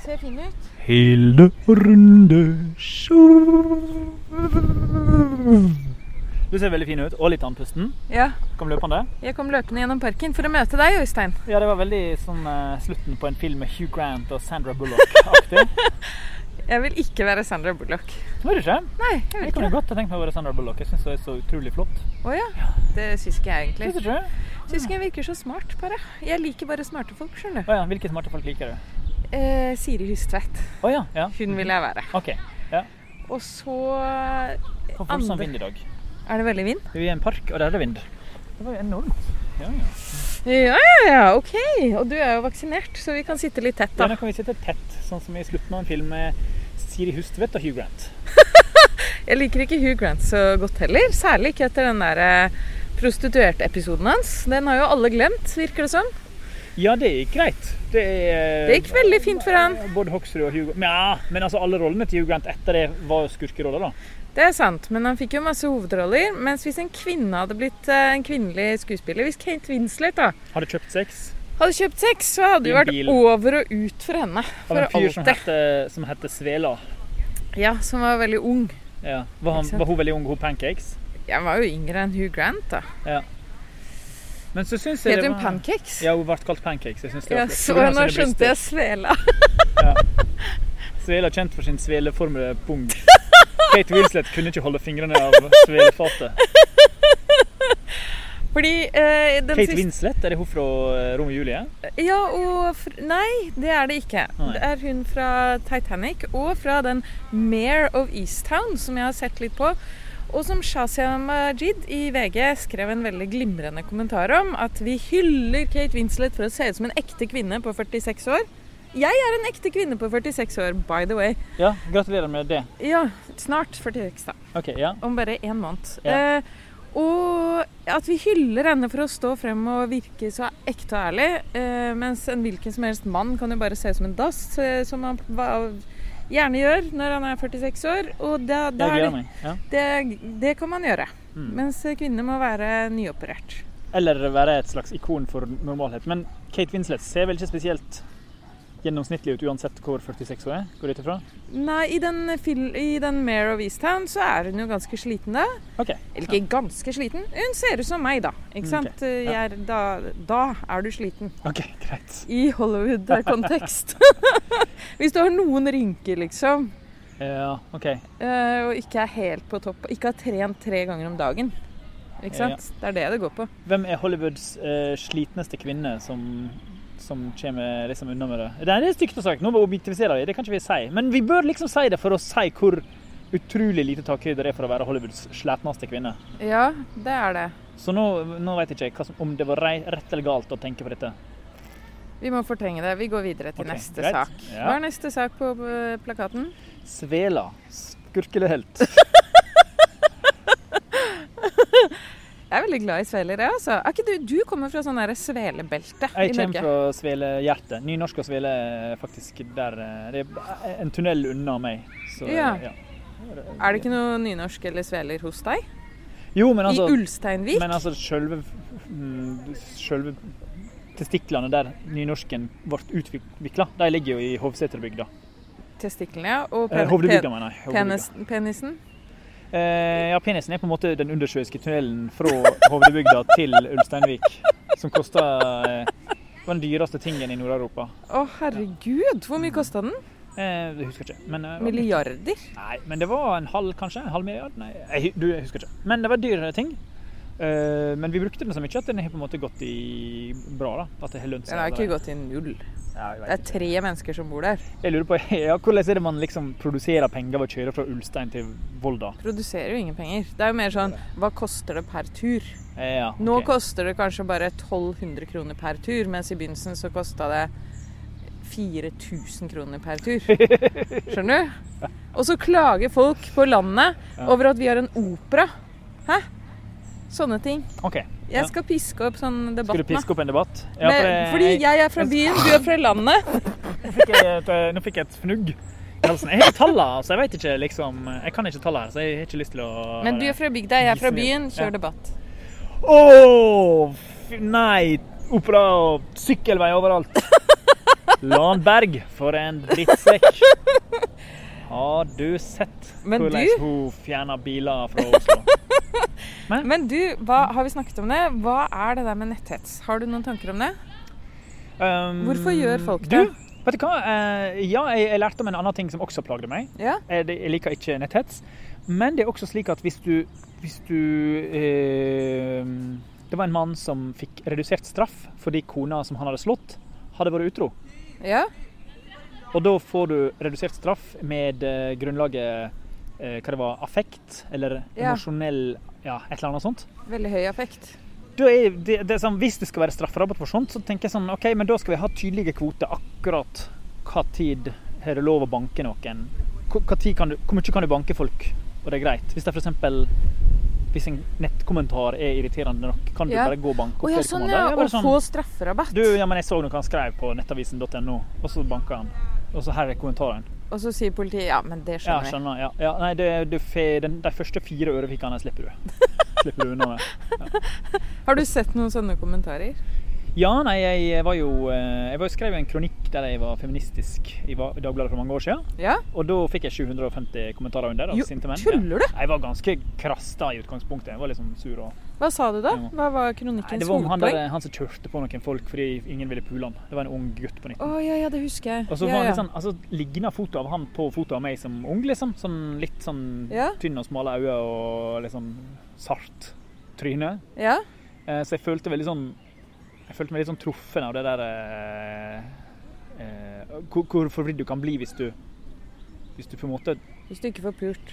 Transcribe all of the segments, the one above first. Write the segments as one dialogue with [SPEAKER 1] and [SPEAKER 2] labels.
[SPEAKER 1] Ser fin ut.
[SPEAKER 2] Hilde Runde Du ser veldig fin ut, og litt andpusten.
[SPEAKER 1] Ja.
[SPEAKER 2] Kom løpende.
[SPEAKER 1] Jeg kom løpende gjennom parken for å møte deg, Øystein.
[SPEAKER 2] Ja, det var veldig sånn eh, slutten på en film med Hugh Grant og Sandra Bullock-aktig.
[SPEAKER 1] Jeg vil ikke være Sandra Bullock.
[SPEAKER 2] Var det ikke?
[SPEAKER 1] Nei, jeg vil
[SPEAKER 2] Jeg
[SPEAKER 1] ikke
[SPEAKER 2] kunne
[SPEAKER 1] det.
[SPEAKER 2] godt ha tenkt meg å være Sandra Bullock. Jeg syns hun er så utrolig flott.
[SPEAKER 1] Å ja. Det syns ikke jeg
[SPEAKER 2] Synes du
[SPEAKER 1] egentlig.
[SPEAKER 2] ikke?
[SPEAKER 1] Syns ikke jeg virker så smart, bare. Jeg liker bare smarte folk, skjønner du.
[SPEAKER 2] Å ja, Hvilke smarte folk liker du?
[SPEAKER 1] Eh, Siri Hustvedt.
[SPEAKER 2] Å ja. ja.
[SPEAKER 1] Hun vil jeg være.
[SPEAKER 2] OK.
[SPEAKER 1] Og så
[SPEAKER 2] Hvorfor er det sånn
[SPEAKER 1] Andre.
[SPEAKER 2] vind i dag?
[SPEAKER 1] Er det veldig vind?
[SPEAKER 2] Vi er i en park, og der er det vind. Det var jo enormt. Ja, ja.
[SPEAKER 1] Ja, ja, ja. OK. Og du er jo vaksinert, så vi kan sitte litt tett,
[SPEAKER 2] Ja,
[SPEAKER 1] da.
[SPEAKER 2] nå kan vi sitte tett, sånn som i slutten av en film med Siri Hustvedt og Hugh Grant.
[SPEAKER 1] Jeg liker ikke Hugh Grant så godt heller. Særlig ikke etter den der eh, prostituert-episoden hans. Den har jo alle glemt, virker det som.
[SPEAKER 2] Ja, det gikk greit. Det, er, eh,
[SPEAKER 1] Det gikk veldig fint for han.
[SPEAKER 2] Både Hoksrud og Hugh Grant. Ja, men altså alle rollene til Hugh Grant etter det var jo skurkeroller, da.
[SPEAKER 1] Det er sant, men han fikk jo masse hovedroller. Mens hvis en kvinne hadde blitt eh, en kvinnelig skuespiller, hvis Kate Winslet da
[SPEAKER 2] Hadde kjøpt sex
[SPEAKER 1] hadde kjøpt sex, så hadde det jo
[SPEAKER 2] I en
[SPEAKER 1] vært
[SPEAKER 2] bil.
[SPEAKER 1] over og ut for henne.
[SPEAKER 2] av en
[SPEAKER 1] For
[SPEAKER 2] fyr som
[SPEAKER 1] alltid.
[SPEAKER 2] heter, som heter Svela.
[SPEAKER 1] Ja, som var veldig ung.
[SPEAKER 2] Ja. Var,
[SPEAKER 1] Ikke
[SPEAKER 2] han,
[SPEAKER 1] sant?
[SPEAKER 2] var hun veldig ung, hun Pancakes?
[SPEAKER 1] Jeg var jo yngre enn Hugh Grant, da.
[SPEAKER 2] Men så syns jeg
[SPEAKER 1] Het
[SPEAKER 2] det
[SPEAKER 1] hun
[SPEAKER 2] var
[SPEAKER 1] Pancakes?
[SPEAKER 2] ja, hun ble kalt Pancakes. Jeg synes det
[SPEAKER 1] Ja,
[SPEAKER 2] var flott.
[SPEAKER 1] så
[SPEAKER 2] På grunn av
[SPEAKER 1] nå
[SPEAKER 2] sine
[SPEAKER 1] skjønte
[SPEAKER 2] bryster.
[SPEAKER 1] jeg svela.
[SPEAKER 2] Svele er kjent for sin sveleformede pung. Kate Winslet kunne ikke holde fingrene av svelefatet.
[SPEAKER 1] Fordi eh, den
[SPEAKER 2] Kate
[SPEAKER 1] siste
[SPEAKER 2] Winslet, er det hun fra eh, Romeo og Julie?
[SPEAKER 1] Ja, og fr Nei, det er det ikke.
[SPEAKER 2] Nei.
[SPEAKER 1] Det er hun fra Titanic og fra den Mare of Easttown som jeg har sett litt på. Og som Shazia Majid i VG skrev en veldig glimrende kommentar om. At vi hyller Kate Winslet for å se ut som en ekte kvinne på 46 år. Jeg er en ekte kvinne på 46 år, by the way.
[SPEAKER 2] Ja, gratulerer med det.
[SPEAKER 1] Ja, snart 46, da.
[SPEAKER 2] Ok, ja.
[SPEAKER 1] Om bare én måned.
[SPEAKER 2] Ja.
[SPEAKER 1] Eh, og at vi hyller henne for å stå frem og virke så ekte og ærlig. Eh, mens en hvilken som helst mann kan jo bare se ut som en dass, eh, som han hva- gjerne gjør når han er 46 år. Og da, da
[SPEAKER 2] Jeg
[SPEAKER 1] er
[SPEAKER 2] gleder
[SPEAKER 1] det,
[SPEAKER 2] meg. Ja.
[SPEAKER 1] det, det kan man gjøre.
[SPEAKER 2] Mm.
[SPEAKER 1] Mens kvinner må være nyoperert.
[SPEAKER 2] Eller være et slags ikon for normalhet. Men Kate Winslet ser vel ikke spesielt gjennomsnittlig ut uansett hvor 46 hun er? Går du ut ifra?
[SPEAKER 1] Nei, i den, fil- i den Mare of Easttown så er hun jo ganske sliten da.
[SPEAKER 2] OK.
[SPEAKER 1] Eller ikke ganske sliten, hun ser ut som meg da. Ikke
[SPEAKER 2] Mm,
[SPEAKER 1] sant? Jeg er, da, da er du sliten.
[SPEAKER 2] ok, Greit.
[SPEAKER 1] i Hollywood-kontekst. Hvis du har noen rynker, liksom,
[SPEAKER 2] Ja, OK.
[SPEAKER 1] eh, og ikke er helt på topp, ikke har trent tre ganger om dagen. Ikke
[SPEAKER 2] Ja.
[SPEAKER 1] sant? Det er det det går på.
[SPEAKER 2] Hvem er Hollywoods eh, slitneste kvinne som, som kommer liksom unna med det? Det er stygt å sagt. Nå objektiviserer vi, det kan ikke vi si. Men vi bør liksom si det for å si hvor utrolig lite takhøyde det er for å være Hollywoods slitneste kvinne.
[SPEAKER 1] Ja, det er det.
[SPEAKER 2] Så nå, nå vet jeg ikke hva som, om det var rei- rett eller galt å tenke på dette.
[SPEAKER 1] Vi må fortrenge det. Vi går videre til
[SPEAKER 2] Ok,
[SPEAKER 1] neste
[SPEAKER 2] greit.
[SPEAKER 1] sak. Hva
[SPEAKER 2] Ja.
[SPEAKER 1] er neste sak på eh, plakaten?
[SPEAKER 2] Svela. Skurkelehelt.
[SPEAKER 1] Jeg er veldig glad i sveler, jeg, altså. Er ikke du, du kommer fra sånn derre svelebelte i
[SPEAKER 2] Jeg kommer
[SPEAKER 1] Norge.
[SPEAKER 2] fra Svelehjertet. Nynorsk og Svele er faktisk der eh, Det er en tunnel unna meg. Så,
[SPEAKER 1] Ja.
[SPEAKER 2] ja.
[SPEAKER 1] Er det ikke noe nynorsk eller sveler hos deg?
[SPEAKER 2] Jo, men altså
[SPEAKER 1] I Ulsteinvik?
[SPEAKER 2] Men altså, selve, mm, selve testiklene der nynorsken ble utvikla, de ligger jo i Hovseterbygda.
[SPEAKER 1] Testiklene, ja. Og
[SPEAKER 2] Eh,
[SPEAKER 1] pen
[SPEAKER 2] Hovdebygda, mener jeg.
[SPEAKER 1] pen
[SPEAKER 2] Hovdebygda.
[SPEAKER 1] penis penisen?
[SPEAKER 2] Eh, ja, penisen er på en måte den undersjøiske tunnelen fra Hovdebygda til Ulsteinvik. Som kosta eh, det var den dyreste tingen i Nord-Europa.
[SPEAKER 1] Å, herregud! Hvor mye kosta den?
[SPEAKER 2] Eh, jeg husker ikke. Men, eh, det var-
[SPEAKER 1] Milliarder?
[SPEAKER 2] Nei, men det var en halv, kanskje? En halv milliard? Nei, jeg, hu- du, jeg husker ikke. Men det var dyre ting. Eh, men vi brukte den så mye at den har på en måte gått i bra. da. At det har lønt seg.
[SPEAKER 1] Den har ikke
[SPEAKER 2] allerede.
[SPEAKER 1] gått til null.
[SPEAKER 2] Ja, jeg vet
[SPEAKER 1] Det er tre mennesker som bor der.
[SPEAKER 2] Jeg lurer på, ja, Hvordan er det man liksom produserer penger ved å kjøre fra Ulstein til Volda?
[SPEAKER 1] Produserer jo ingen penger. Det er jo mer sånn hva koster det per tur?
[SPEAKER 2] Eh, ja,
[SPEAKER 1] Nå
[SPEAKER 2] ok.
[SPEAKER 1] koster det kanskje bare 1200 kroner per tur, mens i begynnelsen så kosta det 4000 kroner per tur. Skjønner du? Og så klager folk på landet
[SPEAKER 2] Ja.
[SPEAKER 1] over at vi har en opera. Hæ? Sånne ting.
[SPEAKER 2] Ok, Ja.
[SPEAKER 1] Jeg skal piske opp sånn debatt
[SPEAKER 2] Skal du
[SPEAKER 1] nå.
[SPEAKER 2] piske opp en debatt? Ja,
[SPEAKER 1] Men,
[SPEAKER 2] for
[SPEAKER 1] fordi
[SPEAKER 2] jeg-
[SPEAKER 1] jeg er fra byen, du er fra landet.
[SPEAKER 2] nå fikk jeg et, eh, nå fikk jeg et fnugg i halsen. Jeg har ikke tallene, så jeg vet ikke liksom Jeg kan ikke tallene her, så jeg har ikke lyst til å
[SPEAKER 1] Men du er fra bygda, jeg er fra
[SPEAKER 2] Gisne.
[SPEAKER 1] byen.
[SPEAKER 2] Ja.
[SPEAKER 1] Kjør debatt.
[SPEAKER 2] Åh, f- nei! Opera og sykkelvei overalt. Lan Berg, for en drittsekk. Har du sett
[SPEAKER 1] Men
[SPEAKER 2] hvordan
[SPEAKER 1] du-
[SPEAKER 2] hun fjerner biler fra Oslo?
[SPEAKER 1] Men du, hva, har vi snakket om det? Hva er det der med netthets? Har du noen tanker om det?
[SPEAKER 2] Um,
[SPEAKER 1] Hvorfor gjør folk
[SPEAKER 2] du,
[SPEAKER 1] det?
[SPEAKER 2] Vet du hva? Eh, Ja, jeg, jeg lærte om en annen ting som også plagde meg.
[SPEAKER 1] Ja.
[SPEAKER 2] Jeg jeg liker ikke netthets. Men det er også slik at hvis du, hvis du eh, Det var en mann som fikk redusert straff fordi kona som han hadde slått, hadde vært utro.
[SPEAKER 1] ja.
[SPEAKER 2] Og da får du redusert straff med eh, grunnlaget eh, hva det var, affekt eller
[SPEAKER 1] Ja.
[SPEAKER 2] emosjonell ja, et eller annet sånt.
[SPEAKER 1] Veldig høy affekt.
[SPEAKER 2] Da er det, det er sånn, hvis det skal være strafferabatt for sånt, så tenker jeg sånn OK, men da skal vi ha tydelige kvoter akkurat hva tid er det lov å banke noen. Hvor, hva tid kan du, hvor mye kan du banke folk, og det er greit. Hvis det f.eks. Hvis en nettkommentar er irriterende nok, kan du
[SPEAKER 1] Ja.
[SPEAKER 2] bare gå og banke
[SPEAKER 1] Å
[SPEAKER 2] opp
[SPEAKER 1] ja, sånn
[SPEAKER 2] vedkommende.
[SPEAKER 1] ja. Å
[SPEAKER 2] Ja, bare sånn,
[SPEAKER 1] få strafferabatt.
[SPEAKER 2] Du, ja, men jeg så noe han skrev på nettavisen.no, og så banka han. Og så her er kommentaren.
[SPEAKER 1] Og så sier politiet ja, men det
[SPEAKER 2] Ja,
[SPEAKER 1] skjønner vi.
[SPEAKER 2] skjønner. Ja. Ja, nei, det, det, fe- den, de første fire ørefikkene slipper du. Slipper du unna med.
[SPEAKER 1] Har du sett noen sånne kommentarer?
[SPEAKER 2] Ja, nei, jeg var jo eh, Jeg var jo skrev jo en kronikk der jeg var feministisk i Va- Dagbladet for mange år siden.
[SPEAKER 1] Ja?
[SPEAKER 2] Og da fikk jeg 750 kommentarer under. av
[SPEAKER 1] Jo,
[SPEAKER 2] sinte menn.
[SPEAKER 1] tuller du?
[SPEAKER 2] Ja. Jeg var ganske krass da i utgangspunktet. Jeg var litt sånn sur og
[SPEAKER 1] Hva sa du da?
[SPEAKER 2] Ja.
[SPEAKER 1] Hva var
[SPEAKER 2] Nei,
[SPEAKER 1] kronikkens
[SPEAKER 2] Det var om han,
[SPEAKER 1] hovedpoeng?
[SPEAKER 2] der, han som kjørte på noen folk fordi ingen ville pule han. Det var en ung gutt på 19.
[SPEAKER 1] Å ja, ja, det husker jeg.
[SPEAKER 2] Og så
[SPEAKER 1] ja,
[SPEAKER 2] var han
[SPEAKER 1] ja.
[SPEAKER 2] litt sånn, altså, ligna foto av han på foto av meg som ung, liksom. Sånn litt sånn
[SPEAKER 1] Ja.
[SPEAKER 2] tynn og smale øyne og litt sånn sart tryne.
[SPEAKER 1] Ja?
[SPEAKER 2] Eh, så jeg følte veldig sånn Jeg følte meg litt sånn truffen av det der eh, eh, hvor, hvor forvridd du kan bli hvis du Hvis du på en måte
[SPEAKER 1] Hvis du ikke får pult.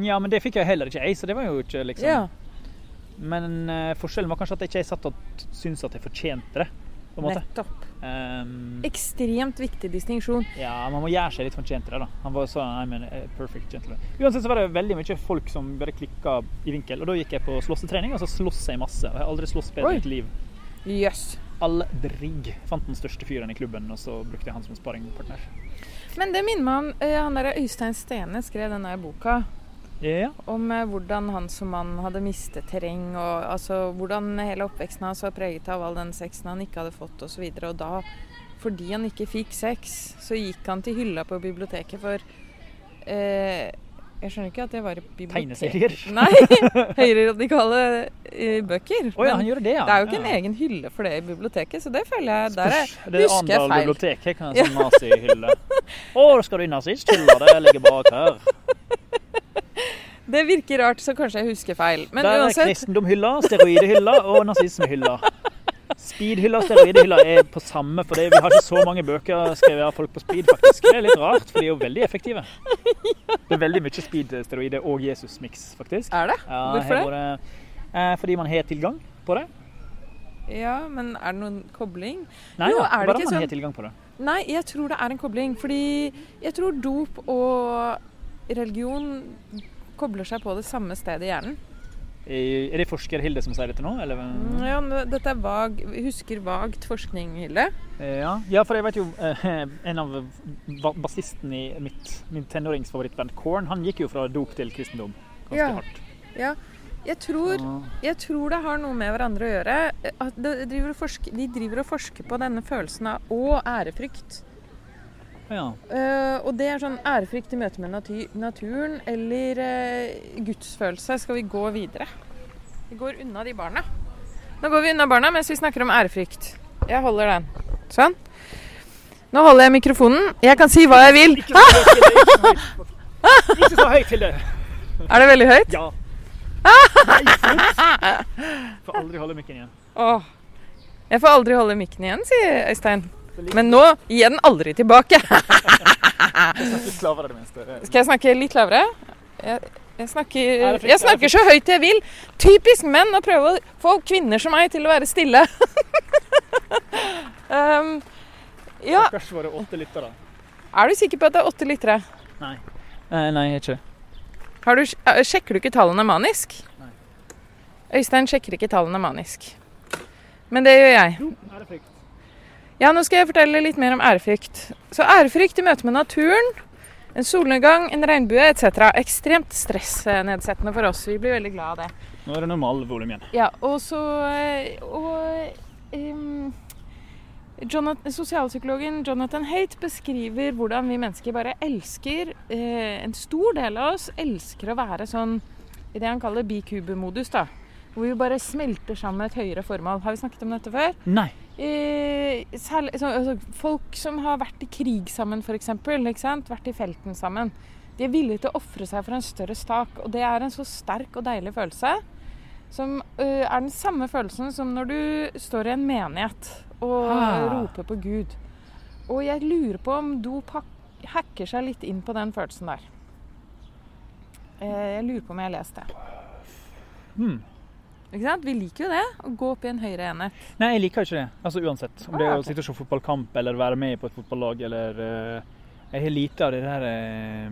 [SPEAKER 2] Ja, men det fikk jeg heller ikke, jeg, så det var jo ikke liksom
[SPEAKER 1] Ja.
[SPEAKER 2] Men eh, forskjellen var kanskje at jeg ikke satt og t- syntes at jeg fortjente det. På en måte.
[SPEAKER 1] Nettopp.
[SPEAKER 2] Ehm,
[SPEAKER 1] Ekstremt viktig distinksjon.
[SPEAKER 2] ja, man må gjøre seg litt fortjent til det, da. Han var så I'm a perfect gentleman. Uansett så var det veldig mye folk som bare klikka i vinkel, og da gikk jeg på slåssetrening, og så sloss jeg masse. Og jeg har aldri slåss bedre
[SPEAKER 1] Oi.
[SPEAKER 2] i mitt liv.
[SPEAKER 1] Jøss.
[SPEAKER 2] Aldri. Jeg Fant den største fyren i klubben, og så brukte jeg han som sparringpartner.
[SPEAKER 1] Men det minner meg om eh, han der Øystein Stene skrev denne boka
[SPEAKER 2] Ja,
[SPEAKER 1] om eh, hvordan han som mann hadde mistet terreng, og altså hvordan hele oppveksten hans var preget av all den sexen han ikke hadde fått osv. Og, og da, fordi han ikke fikk sex, så gikk han til hylla på biblioteket for eh, Jeg skjønner ikke at det var i biblioteket.
[SPEAKER 2] tegneserier.
[SPEAKER 1] Nei! Høyreradikale eh, bøker.
[SPEAKER 2] Å ja,
[SPEAKER 1] Men
[SPEAKER 2] han gjorde det, ja.
[SPEAKER 1] det er jo ikke
[SPEAKER 2] ja.
[SPEAKER 1] en egen hylle for det i biblioteket, så det føler jeg Der er
[SPEAKER 2] Spørs. Det
[SPEAKER 1] husker
[SPEAKER 2] er
[SPEAKER 1] jeg
[SPEAKER 2] Arendal
[SPEAKER 1] feil.
[SPEAKER 2] bibliotek. Jeg kan ha en sånn nazihylle. Å, skal du inn nazisthylla? Det ligger bak her.
[SPEAKER 1] Det virker rart, så kanskje jeg husker feil. Men
[SPEAKER 2] Der er
[SPEAKER 1] uansett
[SPEAKER 2] kristendomhylla, steroidehylla og nazismehylla. Speedhylla og steroidehylla er på samme, for det- vi har ikke så mange bøker skrevet av folk på speed, faktisk. Det er litt rart, for de er jo veldig effektive. Det er veldig mye speed, steroide og Jesus-miks, faktisk.
[SPEAKER 1] er det.
[SPEAKER 2] Ja,
[SPEAKER 1] Hvorfor
[SPEAKER 2] her var det- eh, fordi man har tilgang på det.
[SPEAKER 1] Ja, men er det noen kobling?
[SPEAKER 2] Nei,
[SPEAKER 1] Jo,
[SPEAKER 2] ja,
[SPEAKER 1] er det
[SPEAKER 2] bare
[SPEAKER 1] ikke
[SPEAKER 2] man har
[SPEAKER 1] sånn-
[SPEAKER 2] tilgang på det.
[SPEAKER 1] Nei, jeg tror det er en kobling. Fordi jeg tror dop og religion kobler seg på det samme stedet i hjernen.
[SPEAKER 2] Eh, Er det forsker Hilde som sier dette nå? Eller?
[SPEAKER 1] Ja, men dette er vag, husker vagt forskning, Hilde.
[SPEAKER 2] Ja. ja, for jeg vet jo eh, En av ba- bassisten i mitt, min tenåringsfavorittband Korn, han gikk jo fra dop til kristendom. Ganske
[SPEAKER 1] Ja.
[SPEAKER 2] hardt.
[SPEAKER 1] Jeg tror,
[SPEAKER 2] Ja.
[SPEAKER 1] jeg tror det har noe med hverandre å gjøre. At det driver og forsker, de driver og forsker på denne følelsen av og ærefrykt.
[SPEAKER 2] Ja.
[SPEAKER 1] Eh, og det er sånn ærefrykt i møte med natu- naturen eller eh, gudsfølelse. Skal vi gå videre? Vi går unna de barna. Nå går vi unna barna mens vi snakker om ærefrykt. Jeg holder den. Sånn. Nå holder jeg mikrofonen. Jeg kan si hva jeg vil.
[SPEAKER 2] Ikke så høyt til det! Ikke så høyt til det!
[SPEAKER 1] Er det veldig høyt?
[SPEAKER 2] Ja. Får aldri holde mikken igjen.
[SPEAKER 1] Åh. Jeg får aldri holde mikken igjen, sier Øystein.
[SPEAKER 2] Det ligger
[SPEAKER 1] Men nå gir jeg den aldri tilbake.
[SPEAKER 2] litt lavere i det minste. Eh,
[SPEAKER 1] Skal jeg snakke litt lavere? Jeg, jeg, snakker,
[SPEAKER 2] Ærefrykt,
[SPEAKER 1] jeg snakker så høyt jeg vil. Typisk menn å prøve å få kvinner som meg til å være stille. um, ja,
[SPEAKER 2] Stakkars våre åtte lyttere.
[SPEAKER 1] er du sikker på at det er åtte lyttere?
[SPEAKER 2] Nei. Eh, nei, jeg er ikke
[SPEAKER 1] Har du, eh, sjekker du ikke tallene manisk?
[SPEAKER 2] Nei.
[SPEAKER 1] Øystein sjekker ikke tallene manisk. Men det gjør jeg.
[SPEAKER 2] Er det frykt?
[SPEAKER 1] Ja, nå skal jeg fortelle litt mer om ærefrykt. Så ærefrykt i møte med naturen, en solnedgang, en regnbue etc. Ekstremt stressnedsettende for oss. Vi blir veldig glad av det.
[SPEAKER 2] Nå er det normal volum igjen.
[SPEAKER 1] Ja, og så eh, Og em, Jonat- Sosialpsykologen Jonathan Haidt beskriver hvordan vi mennesker bare elsker eh, En stor del av oss elsker å være sånn i det han kaller bikubemodus, da. Hvor vi bare smelter sammen et høyere formål. Har vi snakket om dette før?
[SPEAKER 2] Nei.
[SPEAKER 1] Eh, særlig, så, altså, folk som har vært i krig sammen, f.eks. Vært i felten sammen. De er villige til å ofre seg for en større stak. Og det er en så sterk og deilig følelse. Som eh, er den samme følelsen som når du står i en menighet og
[SPEAKER 2] Ah.
[SPEAKER 1] roper på Gud. Og jeg lurer på om dop hak- hacker seg litt inn på den følelsen der. Eh, jeg lurer på om jeg har lest det.
[SPEAKER 2] Hmm.
[SPEAKER 1] Ikke sant? Vi liker jo det. Å gå opp i en høyere enhet.
[SPEAKER 2] Nei, jeg liker ikke det. Altså uansett. Om det
[SPEAKER 1] Ah,
[SPEAKER 2] er å
[SPEAKER 1] ok.
[SPEAKER 2] sitte og se fotballkamp eller være med på et fotballag eller eh, Jeg har lite av det der eh,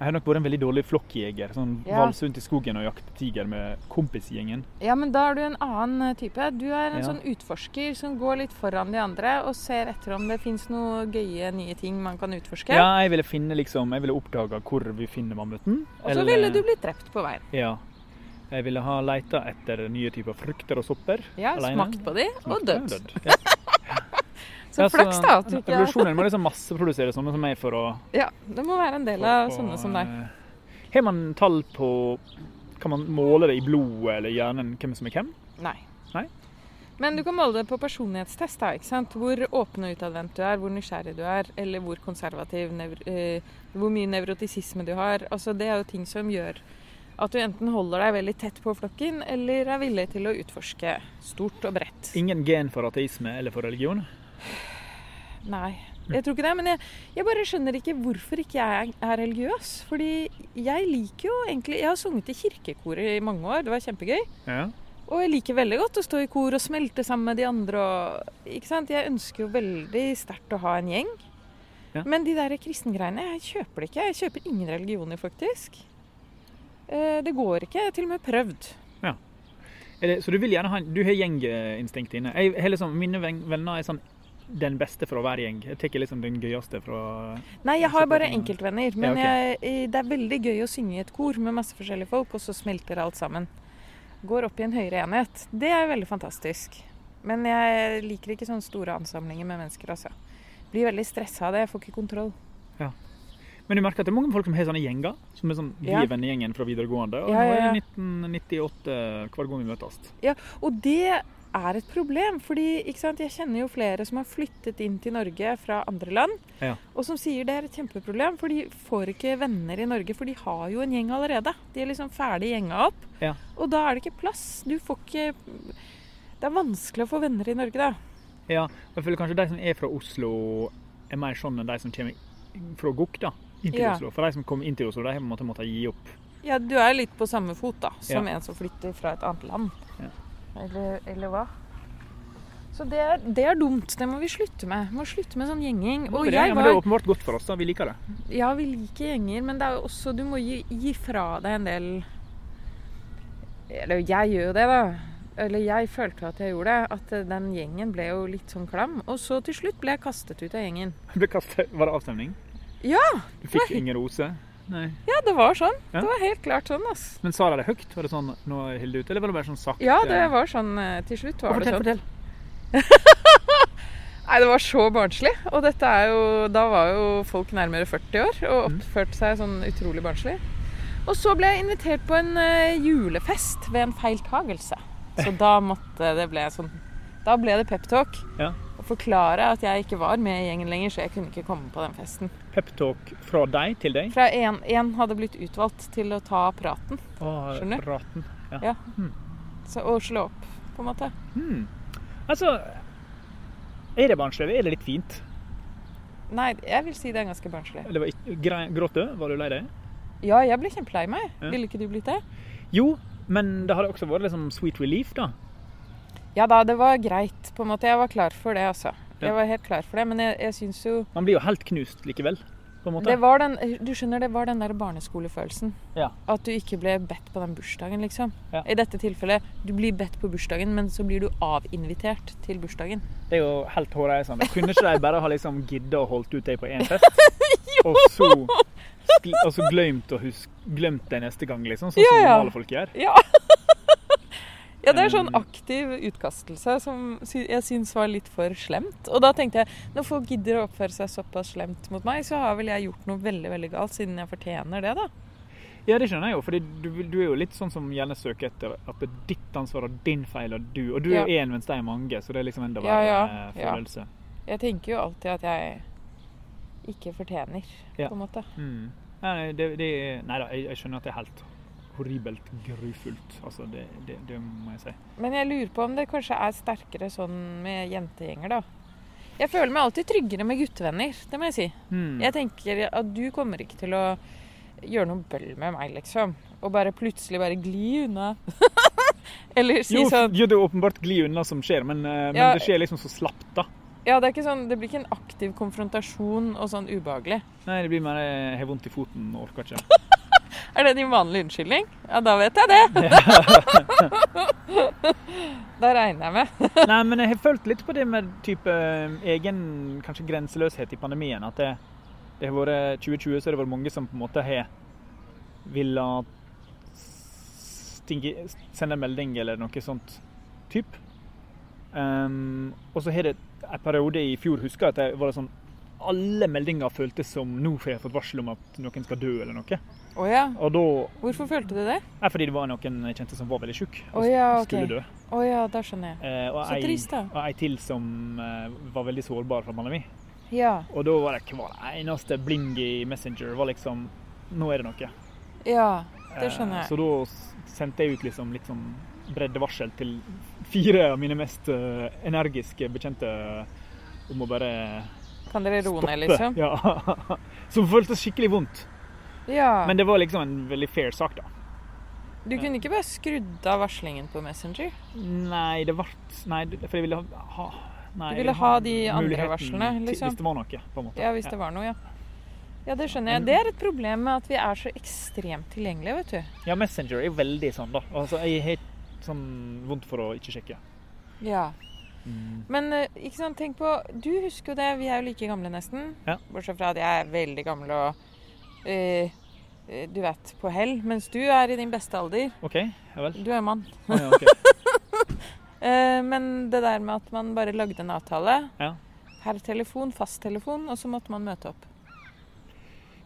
[SPEAKER 2] Jeg har nok vært en veldig dårlig flokkjeger. Sånn
[SPEAKER 1] Ja.
[SPEAKER 2] valse rundt i skogen og jakte tiger med kompisgjengen.
[SPEAKER 1] Ja, men da er du en annen eh, type. Du er en
[SPEAKER 2] Ja.
[SPEAKER 1] sånn utforsker som går litt foran de andre og ser etter om det fins noe gøye nye ting man kan utforske.
[SPEAKER 2] Ja, jeg ville finne liksom Jeg ville oppdaga hvor vi finner mammuten.
[SPEAKER 1] og så ville du blitt drept på veien.
[SPEAKER 2] Ja. Jeg ville ha leita etter nye typer frukter og sopper.
[SPEAKER 1] Ja,
[SPEAKER 2] Alene.
[SPEAKER 1] Smakt på de og
[SPEAKER 2] Smakte
[SPEAKER 1] dødd.
[SPEAKER 2] Ja.
[SPEAKER 1] Så
[SPEAKER 2] Ja,
[SPEAKER 1] flaks, da. At du ikke...
[SPEAKER 2] Revolusjonen må liksom masseprodusere sånne som meg for å
[SPEAKER 1] Ja, det må være en del
[SPEAKER 2] på-
[SPEAKER 1] av
[SPEAKER 2] på,
[SPEAKER 1] sånne som deg.
[SPEAKER 2] eh, Har man tall på Kan man måle det i blodet eller i hjernen hvem som er hvem?
[SPEAKER 1] Nei.
[SPEAKER 2] Nei.
[SPEAKER 1] Men du kan måle det på personlighetstest. da, ikke sant? Hvor åpen og utadvendt du er, hvor nysgjerrig du er, eller hvor konservativ, nevr- eh, hvor mye nevrotisisme du har. Altså, Det er jo ting som gjør at du enten holder deg veldig tett på flokken, eller er villig til å utforske stort og bredt.
[SPEAKER 2] Ingen gen for ateisme eller for religion.
[SPEAKER 1] Nei, jeg tror ikke det. Men jeg, jeg bare skjønner ikke hvorfor ikke jeg er religiøs. Fordi jeg liker jo egentlig Jeg har sunget i kirkekoret i mange år, det var kjempegøy.
[SPEAKER 2] Ja.
[SPEAKER 1] Og jeg liker veldig godt å stå i kor og smelte sammen med de andre. Og, ikke sant? Jeg ønsker jo veldig sterkt å ha en gjeng.
[SPEAKER 2] Ja.
[SPEAKER 1] Men de der kristengreiene, jeg kjøper det ikke. Jeg kjøper ingen religioner, faktisk. Eh, Det går ikke. Jeg har til og med prøvd.
[SPEAKER 2] Er det, så du vil gjerne ha en- Du har gjenginstinktet inne. Jeg har liksom, Mine ven- venner er sånn den beste fra hver gjeng. Jeg tar liksom den gøyeste fra
[SPEAKER 1] Nei, jeg har
[SPEAKER 2] Så
[SPEAKER 1] bare
[SPEAKER 2] det-
[SPEAKER 1] enkeltvenner. Men
[SPEAKER 2] Ja,
[SPEAKER 1] jeg, det er veldig gøy å synge i et kor med masse forskjellige folk, og så smelter alt sammen. Går opp i en høyere enhet. Det er veldig fantastisk. Men jeg liker ikke sånne store ansamlinger med mennesker, altså. Blir veldig stressa av det. Jeg får ikke kontroll.
[SPEAKER 2] Men du merker at det er mange folk som har sånne gjenger. Som er sånn, Vi
[SPEAKER 1] Ja.
[SPEAKER 2] er vennegjengen fra videregående. Og
[SPEAKER 1] Ja, ja, ja.
[SPEAKER 2] nå er det 1998 hver gang vi møtes.
[SPEAKER 1] Og det er et problem, fordi ikke sant, jeg kjenner jo flere som har flyttet inn til Norge fra andre land,
[SPEAKER 2] Ja.
[SPEAKER 1] og som sier det er et kjempeproblem, for de får ikke venner i Norge, for de har jo en gjeng allerede. De er liksom ferdig gjenga opp,
[SPEAKER 2] Ja.
[SPEAKER 1] og da er det ikke plass. Du får ikke Det er vanskelig å få venner i Norge, da.
[SPEAKER 2] Ja, og jeg føler kanskje de som er fra Oslo, er mer sånn enn de som kommer fra Gokk, da. Inn til
[SPEAKER 1] Ja.
[SPEAKER 2] Oslo. For de som kom inn til Oslo, de har på en måte måttet gi opp.
[SPEAKER 1] Ja, du er litt på samme fot, da, som en som flytter fra et annet land.
[SPEAKER 2] Ja.
[SPEAKER 1] Eller, eller hva? Så det er, det er dumt. Det må vi slutte med. Vi må slutte med sånn gjenging. Og
[SPEAKER 2] ja,
[SPEAKER 1] jeg
[SPEAKER 2] Men
[SPEAKER 1] var
[SPEAKER 2] det er åpenbart godt for oss, da. Vi liker det.
[SPEAKER 1] Ja, vi liker gjenger, men det er jo også Du må gi, gi fra deg en del Eller jeg gjør jo det, da. Eller jeg følte at jeg gjorde det. At eh, den gjengen ble jo litt sånn klam. Og så til slutt ble jeg kastet ut av gjengen.
[SPEAKER 2] Ble kastet, var det avstemning?
[SPEAKER 1] Ja,
[SPEAKER 2] Du fikk ingen rose? Nei.
[SPEAKER 1] Ja, det var sånn.
[SPEAKER 2] Ja.
[SPEAKER 1] Det var helt klart sånn, ass.
[SPEAKER 2] Men sa de det høyt? Var det sånn 'nå er Hilde ute', eller var det bare sånn sakte?
[SPEAKER 1] Ja, det var sånn eh, til slutt.
[SPEAKER 2] Å,
[SPEAKER 1] var det
[SPEAKER 2] fortell,
[SPEAKER 1] sånn.
[SPEAKER 2] fortell.
[SPEAKER 1] Nei, det var så barnslig. Og dette er jo Da var jo folk nærmere 40 år og
[SPEAKER 2] Mm.
[SPEAKER 1] oppførte seg sånn utrolig barnslig. Og så ble jeg invitert på en eh, julefest ved en feiltagelse. Så da måtte det ble sånn Da ble det peptalk.
[SPEAKER 2] Ja.
[SPEAKER 1] Å forklare at jeg ikke var med i gjengen lenger, så jeg kunne ikke komme på den festen.
[SPEAKER 2] Peptalk fra deg til deg?
[SPEAKER 1] Fra en, en hadde blitt utvalgt til å ta praten
[SPEAKER 2] Å,
[SPEAKER 1] Skjønner.
[SPEAKER 2] Raten.
[SPEAKER 1] så, og slå opp, på en måte.
[SPEAKER 2] Hmm. Altså Er det barnslig? eller Er det litt fint?
[SPEAKER 1] Nei, jeg vil si det er ganske barnslig.
[SPEAKER 2] Eller var ikke- gre- Gråt du? Var du lei deg?
[SPEAKER 1] Ja, jeg ble kjempelei meg.
[SPEAKER 2] Ja.
[SPEAKER 1] Ville ikke du blitt det?
[SPEAKER 2] Jo, men det hadde også vært liksom sweet relief, da.
[SPEAKER 1] Ja da, det var greit, på en måte. Jeg var klar for det, altså.
[SPEAKER 2] Ja.
[SPEAKER 1] Jeg var helt klar for det, men jeg, jeg syns jo
[SPEAKER 2] Man blir jo helt knust likevel, på en måte.
[SPEAKER 1] det var den, Du skjønner, det var den der barneskolefølelsen.
[SPEAKER 2] Ja.
[SPEAKER 1] At du ikke ble bedt på den bursdagen, liksom.
[SPEAKER 2] Ja.
[SPEAKER 1] I dette tilfellet, du blir bedt på bursdagen, men så blir du avinvitert til bursdagen.
[SPEAKER 2] Det er jo helt hårreisende. Kunne ikke de bare ha liksom gidda å holdt ut det på én fest? og så, skl- og så glemt, å husk, glemt det neste gang, liksom? Sånn
[SPEAKER 1] Ja,
[SPEAKER 2] som
[SPEAKER 1] ja.
[SPEAKER 2] normale folk gjør.
[SPEAKER 1] Ja! Ja, det er
[SPEAKER 2] Eh.
[SPEAKER 1] sånn aktiv utkastelse som sy- jeg syns var litt for slemt. Og da tenkte jeg når folk gidder å oppføre seg såpass slemt mot meg, så har vel jeg gjort noe veldig veldig galt, siden jeg fortjener det, da.
[SPEAKER 2] Ja, det skjønner jeg jo, for du, du er jo litt sånn som gjerne søker etter at det er ditt ansvar og din feil og du. Og du
[SPEAKER 1] Ja.
[SPEAKER 2] er én mens de er mange, så det er liksom enda
[SPEAKER 1] Ja,
[SPEAKER 2] verre
[SPEAKER 1] ja,
[SPEAKER 2] eh,
[SPEAKER 1] ja.
[SPEAKER 2] følelse.
[SPEAKER 1] Jeg tenker jo alltid at jeg ikke fortjener,
[SPEAKER 2] Ja.
[SPEAKER 1] på en måte.
[SPEAKER 2] Mm. Nei, nei, det, det, nei da, jeg, jeg skjønner at det er helt horribelt grufullt. Altså, det, det, det må jeg si.
[SPEAKER 1] Men jeg lurer på om det kanskje er sterkere sånn med jentegjenger, da. Jeg føler meg alltid tryggere med guttevenner, det må jeg si.
[SPEAKER 2] Mm.
[SPEAKER 1] Jeg tenker at du kommer ikke til å gjøre noe bøll med meg, liksom. Og bare plutselig bare gli unna. Eller si
[SPEAKER 2] Jo,
[SPEAKER 1] sånn
[SPEAKER 2] jo, det er åpenbart gli unna som skjer, men, eh, men
[SPEAKER 1] Ja.
[SPEAKER 2] det skjer liksom så slapt, da.
[SPEAKER 1] Ja, det er ikke sånn Det blir ikke en aktiv konfrontasjon og sånn ubehagelig.
[SPEAKER 2] Nei, det blir mer eh, jeg har vondt i foten og orker ikke.
[SPEAKER 1] Er det din vanlige unnskyldning? Ja, da vet jeg det. da regner jeg med.
[SPEAKER 2] Nei, men jeg har følt litt på det med type eh, egen kanskje grenseløshet i pandemien. At det, det har vært 2020, så har det vært mange som på en måte har villet stinge, sende en melding eller noe sånt typ. Ehm, og så har det en periode i fjor, husker jeg, at det var sånn alle meldinger føltes som nå får jeg fått varsel om at noen skal dø eller noe.
[SPEAKER 1] Å ja.
[SPEAKER 2] Og da
[SPEAKER 1] Hvorfor følte du det?
[SPEAKER 2] Nei, fordi det var noen jeg kjente som var veldig sjuk
[SPEAKER 1] Å
[SPEAKER 2] og
[SPEAKER 1] ja, ok.
[SPEAKER 2] skulle dø.
[SPEAKER 1] Å ja, da skjønner jeg.
[SPEAKER 2] Eh, og
[SPEAKER 1] Så
[SPEAKER 2] ei-
[SPEAKER 1] trist, da.
[SPEAKER 2] Og ei til som eh, var veldig sårbar for pandemi.
[SPEAKER 1] Ja.
[SPEAKER 2] Og da var det hver eneste bling i Messenger var liksom Nå er det noe.
[SPEAKER 1] Ja.
[SPEAKER 2] Eh,
[SPEAKER 1] Det skjønner jeg.
[SPEAKER 2] Så da s- sendte jeg ut liksom litt sånn breddevarsel til fire av mine mest eh, energiske bekjente om å bare
[SPEAKER 1] Kan dere roe
[SPEAKER 2] stoppe.
[SPEAKER 1] ned, liksom?
[SPEAKER 2] Ja. Som føltes skikkelig vondt.
[SPEAKER 1] Ja.
[SPEAKER 2] Men det var liksom en veldig fair sak, da.
[SPEAKER 1] Du kunne ikke bare skrudd av varslingen på Messenger?
[SPEAKER 2] Nei, det ble Nei, for jeg ville ha, ha nei,
[SPEAKER 1] Du
[SPEAKER 2] jeg
[SPEAKER 1] ville ha de andre
[SPEAKER 2] muligheten
[SPEAKER 1] varslene,
[SPEAKER 2] til-
[SPEAKER 1] liksom?
[SPEAKER 2] Hvis det var noe, på en måte.
[SPEAKER 1] Ja, hvis det var noe, ja. Ja, det skjønner jeg. Det er et problem med at vi er så ekstremt tilgjengelige, vet du.
[SPEAKER 2] Ja, Messenger er veldig sånn, da. Altså, jeg har sånn vondt for å ikke sjekke.
[SPEAKER 1] Ja.
[SPEAKER 2] Mm.
[SPEAKER 1] Men eh, ikke sant, tenk på Du husker jo det, vi er jo like gamle nesten.
[SPEAKER 2] Ja.
[SPEAKER 1] Bortsett fra at jeg er veldig gammel og eh, eh, Du vet, på hell. Mens du er i din beste alder.
[SPEAKER 2] OK, ja vel.
[SPEAKER 1] Du er mann.
[SPEAKER 2] Å, Ah, ja, ok.
[SPEAKER 1] Eh, men det der med at man bare lagde en avtale
[SPEAKER 2] Ja.
[SPEAKER 1] per telefon, fasttelefon, og så måtte man møte opp.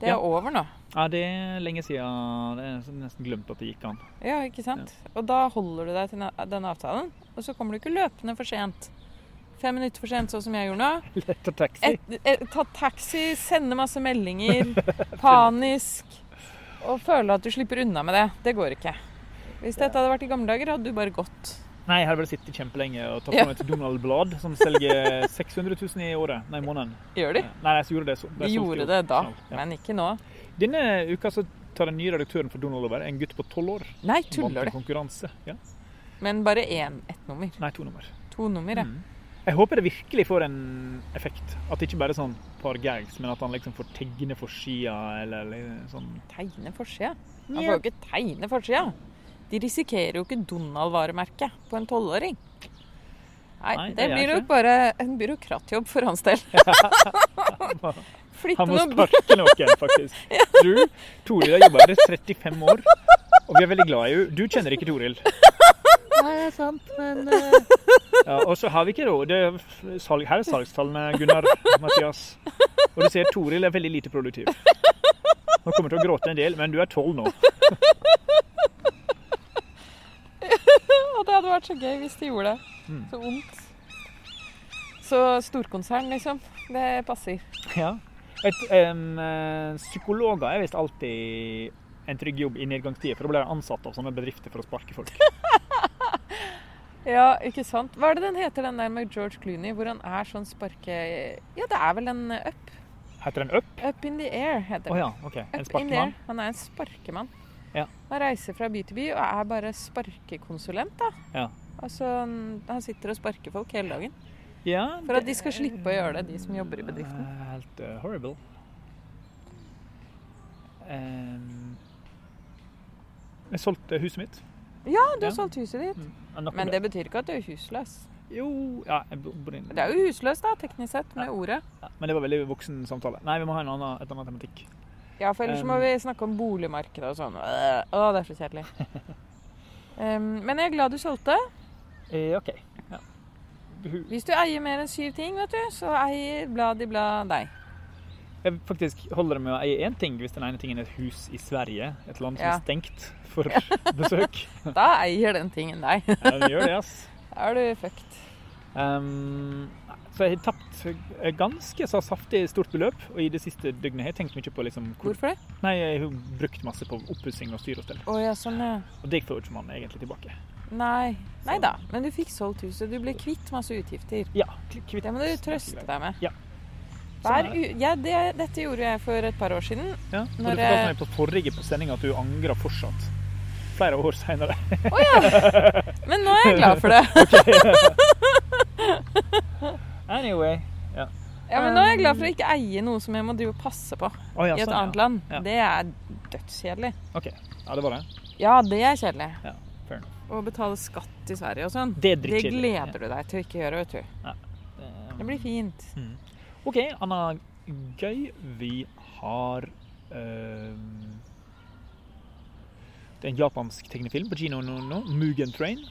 [SPEAKER 1] Det er
[SPEAKER 2] Ja.
[SPEAKER 1] over nå.
[SPEAKER 2] ja, det er lenge siden. Det er nesten glemt at det gikk an.
[SPEAKER 1] Ja, ikke sant? Og da holder du deg til na- den avtalen, og så kommer du ikke løpende for sent. Fem minutter for sent, sånn som jeg gjorde nå.
[SPEAKER 2] Etter taxi.
[SPEAKER 1] Et, et, ta taxi, sende masse meldinger, panisk, og føle at du slipper unna med det. Det går ikke. Hvis dette hadde vært i gamle dager, hadde du bare gått.
[SPEAKER 2] Nei, jeg hadde bare sittet kjempelenge og tatt
[SPEAKER 1] Ja.
[SPEAKER 2] på meg et Donald Blad, som selger 600 000 i året. Nei, i måneden.
[SPEAKER 1] Gjør de?
[SPEAKER 2] Nei, nei, så gjorde det så.
[SPEAKER 1] De
[SPEAKER 2] solgte
[SPEAKER 1] gjorde
[SPEAKER 2] jo.
[SPEAKER 1] det da,
[SPEAKER 2] Ja.
[SPEAKER 1] men ikke nå.
[SPEAKER 2] Denne uka så tar den nye redaktøren for Donald over, en gutt på 12 år.
[SPEAKER 1] Nei,
[SPEAKER 2] Vant
[SPEAKER 1] tuller
[SPEAKER 2] en
[SPEAKER 1] du?
[SPEAKER 2] konkurranse. Ja.
[SPEAKER 1] Men bare én, ett nummer.
[SPEAKER 2] Nei, to nummer.
[SPEAKER 1] To nummer, ja.
[SPEAKER 2] Mm. Jeg håper det virkelig får en effekt. At det ikke bare er sånn par gags, men at han liksom får tegne for skia eller, eller sånn. Altså,
[SPEAKER 1] Tegne forsida. Han får jo
[SPEAKER 2] Ja.
[SPEAKER 1] ikke tegne forsida. De risikerer jo ikke Donald-varemerket på en tolvåring. Nei,
[SPEAKER 2] Nei,
[SPEAKER 1] det
[SPEAKER 2] det gjør
[SPEAKER 1] blir jo
[SPEAKER 2] ikke.
[SPEAKER 1] bare en byråkratjobb for hans del. Flytte
[SPEAKER 2] Han må
[SPEAKER 1] noe bu-
[SPEAKER 2] sparke noen, faktisk. Du, Toril har jobba her i 35 år, og vi er veldig glad i henne. Du kjenner ikke Toril. Nei, det er sant, men ja, Og så har vi ikke råd. Det er salg, her er salgstallene, Gunnar Mathias. Og du ser Toril er veldig lite produktiv. Hun kommer til å gråte en del, men du er tolv nå.
[SPEAKER 1] Og det hadde vært så gøy hvis de gjorde det.
[SPEAKER 2] Mm.
[SPEAKER 1] Så ondt. Så storkonsern, liksom. Det passer.
[SPEAKER 2] Ja. Et, em, eh, psykologer er visst alltid en trygg jobb i nedgangstider, for da blir de ansatt av sånne bedrifter for å sparke folk.
[SPEAKER 1] Ja, ikke sant. Hva er det den heter, den der med George Clooney, hvor han er sånn sparke... Ja, det er vel en up.
[SPEAKER 2] Heter den Up?
[SPEAKER 1] Up in the air,
[SPEAKER 2] Å
[SPEAKER 1] heter den.
[SPEAKER 2] ja, OK. En
[SPEAKER 1] Up in the air.
[SPEAKER 2] sparkemann?
[SPEAKER 1] Han er en sparkemann.
[SPEAKER 2] Ja.
[SPEAKER 1] Han reiser fra by til by og er bare sparkekonsulent, da.
[SPEAKER 2] Ja.
[SPEAKER 1] Altså, han han sitter og sparker folk hele dagen.
[SPEAKER 2] Ja,
[SPEAKER 1] For at de skal slippe å gjøre det, de som jobber i bedriften.
[SPEAKER 2] Det er Helt eh, horrible. Em, jeg solgte huset mitt.
[SPEAKER 1] Ja, du har
[SPEAKER 2] Ja. Mm.
[SPEAKER 1] solgt huset ditt.
[SPEAKER 2] Ja, nok om
[SPEAKER 1] Men det betyr ikke at du er husløs.
[SPEAKER 2] Jo ja, jeg bor inne.
[SPEAKER 1] Det er jo husløs, da, teknisk sett, med
[SPEAKER 2] Ja.
[SPEAKER 1] ordet.
[SPEAKER 2] Ja, Men det var veldig voksen samtale. Nei, vi må ha en annen, et annet tematikk.
[SPEAKER 1] Ja, for ellers må
[SPEAKER 2] Um.
[SPEAKER 1] vi snakke om boligmarkedet og sånn. Øh, Å, det er så kjedelig. Ehm, men jeg er glad du solgte.
[SPEAKER 2] Eh, OK. Ja. Hun-
[SPEAKER 1] Hvis du eier mer enn syv ting, vet du, så eier bladibla deg.
[SPEAKER 2] Jeg faktisk holder det med å eie én ting hvis den ene tingen er et hus i Sverige. Et land som
[SPEAKER 1] Ja.
[SPEAKER 2] er stengt for besøk.
[SPEAKER 1] Da eier den tingen deg.
[SPEAKER 2] Ja, den gjør det, ass.
[SPEAKER 1] Da er du fucked.
[SPEAKER 2] Ehm, så jeg har tapt et ganske så saftig stort beløp, og i det siste døgnet har jeg tenkt mye på liksom, hvor,
[SPEAKER 1] Hvorfor det?
[SPEAKER 2] Nei, jeg har brukt masse på oppussing og styr og stell.
[SPEAKER 1] Å ja, sånn ja.
[SPEAKER 2] Og det får jo ikke man egentlig tilbake.
[SPEAKER 1] Nei. Nei da. Men du fikk solgt huset. Du ble kvitt masse utgifter.
[SPEAKER 2] Ja, k- kvitt.
[SPEAKER 1] Det må du trøste deg med.
[SPEAKER 2] Ja.
[SPEAKER 1] Hver
[SPEAKER 2] Sånn er
[SPEAKER 1] u ja, det, dette gjorde jeg for et par år siden.
[SPEAKER 2] Ja, og du
[SPEAKER 1] Når
[SPEAKER 2] fortalte
[SPEAKER 1] jeg-
[SPEAKER 2] meg på forrige sending at du angrer fortsatt. Flere år senere.
[SPEAKER 1] Men nå er jeg glad for det.
[SPEAKER 2] Anyway. Ja.
[SPEAKER 1] Ja, men nå er jeg glad for å ikke eie noe som jeg må drive og passe på
[SPEAKER 2] Å, ja,
[SPEAKER 1] i et
[SPEAKER 2] sånn,
[SPEAKER 1] annet
[SPEAKER 2] ja.
[SPEAKER 1] land.
[SPEAKER 2] Ja.
[SPEAKER 1] Det er dødskjedelig.
[SPEAKER 2] OK. Ja, det var det.
[SPEAKER 1] Ja, det er kjedelig.
[SPEAKER 2] Ja, fair enough.
[SPEAKER 1] Å betale skatt i Sverige og sånn.
[SPEAKER 2] Det er
[SPEAKER 1] Det
[SPEAKER 2] drittkjedelig.
[SPEAKER 1] gleder du deg til å ikke gjøre, vet du.
[SPEAKER 2] Ja.
[SPEAKER 1] Det blir fint.
[SPEAKER 2] OK, Anna Gøy. Vi har ehm, Det er en japansk tegnefilm på kino nå. nå. Mugen Train.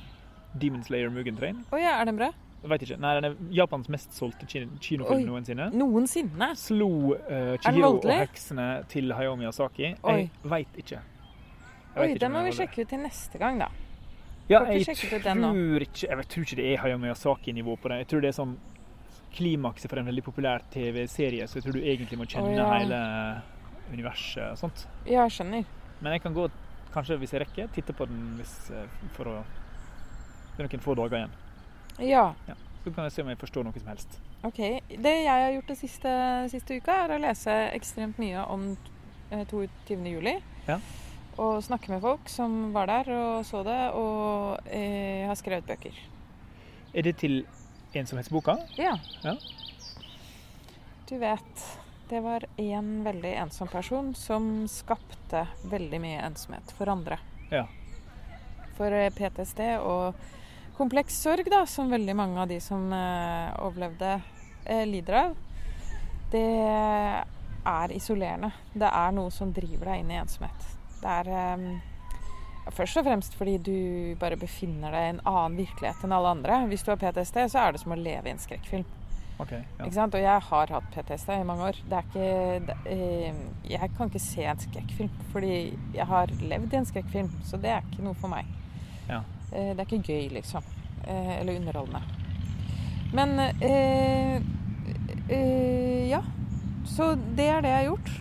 [SPEAKER 2] Demon Slayer Mugen Train.
[SPEAKER 1] Å ja, er den bra?
[SPEAKER 2] Jeg vet ikke. Nei, den er Japans mest solgte kin- kinofilm
[SPEAKER 1] Oi.
[SPEAKER 2] noensinne.
[SPEAKER 1] Noensinne.
[SPEAKER 2] Slo eh,
[SPEAKER 1] den
[SPEAKER 2] Chihiro og
[SPEAKER 1] voldelig?
[SPEAKER 2] heksene til Hayao Miyazaki.
[SPEAKER 1] Oi.
[SPEAKER 2] Jeg veit ikke. Jeg
[SPEAKER 1] Oi,
[SPEAKER 2] vet ikke
[SPEAKER 1] den
[SPEAKER 2] om
[SPEAKER 1] må vi
[SPEAKER 2] jeg var der.
[SPEAKER 1] sjekke ut til neste gang, da.
[SPEAKER 2] Ja,
[SPEAKER 1] Får ikke
[SPEAKER 2] jeg
[SPEAKER 1] sjekket
[SPEAKER 2] tror,
[SPEAKER 1] ut den nå.
[SPEAKER 2] ikke, jeg tror ikke det er Hayao Miyazaki-nivå på det. Jeg tror det er sånn klimakset for en veldig populær TV-serie, så jeg tror du egentlig må kjenne
[SPEAKER 1] Å, ja.
[SPEAKER 2] hele universet og sånt.
[SPEAKER 1] Ja, skjønner.
[SPEAKER 2] Men jeg kan gå, kanskje hvis jeg rekker, titte på den hvis, eh, for å Det er noen få dager igjen.
[SPEAKER 1] Ja.
[SPEAKER 2] Så kan jeg se om jeg forstår noe som helst.
[SPEAKER 1] Ok. Det jeg har gjort det siste, siste uka, er å lese ekstremt mye om eh, 22. juli.
[SPEAKER 2] Ja.
[SPEAKER 1] Og snakke med folk som var der og så det, og eh, har skrevet bøker.
[SPEAKER 2] Er det til ensomhetsboka?
[SPEAKER 1] Ja.
[SPEAKER 2] Ja.
[SPEAKER 1] Du vet, det var en veldig ensom person som skapte veldig mye ensomhet for andre.
[SPEAKER 2] Ja.
[SPEAKER 1] For eh, PTSD og kompleks sorg, da, som veldig mange av de som eh, overlevde, eh, lider av. Det er isolerende. Det er noe som driver deg inn i ensomhet. Det er eh, Først og fremst fordi du bare befinner deg i en annen virkelighet enn alle andre. Hvis du har PTSD, så er det som å leve i en skrekkfilm.
[SPEAKER 2] OK. Ja.
[SPEAKER 1] Ikke sant? Og jeg har hatt PTSD i mange år. Det er ikke, det, eh, jeg kan ikke se en skrekkfilm, fordi jeg har levd i en skrekkfilm. Så det er ikke noe for meg.
[SPEAKER 2] Ja.
[SPEAKER 1] Eh, det er ikke gøy, liksom. Eh, eller underholdende. Men eh, eh, ja. Så det er det jeg har gjort.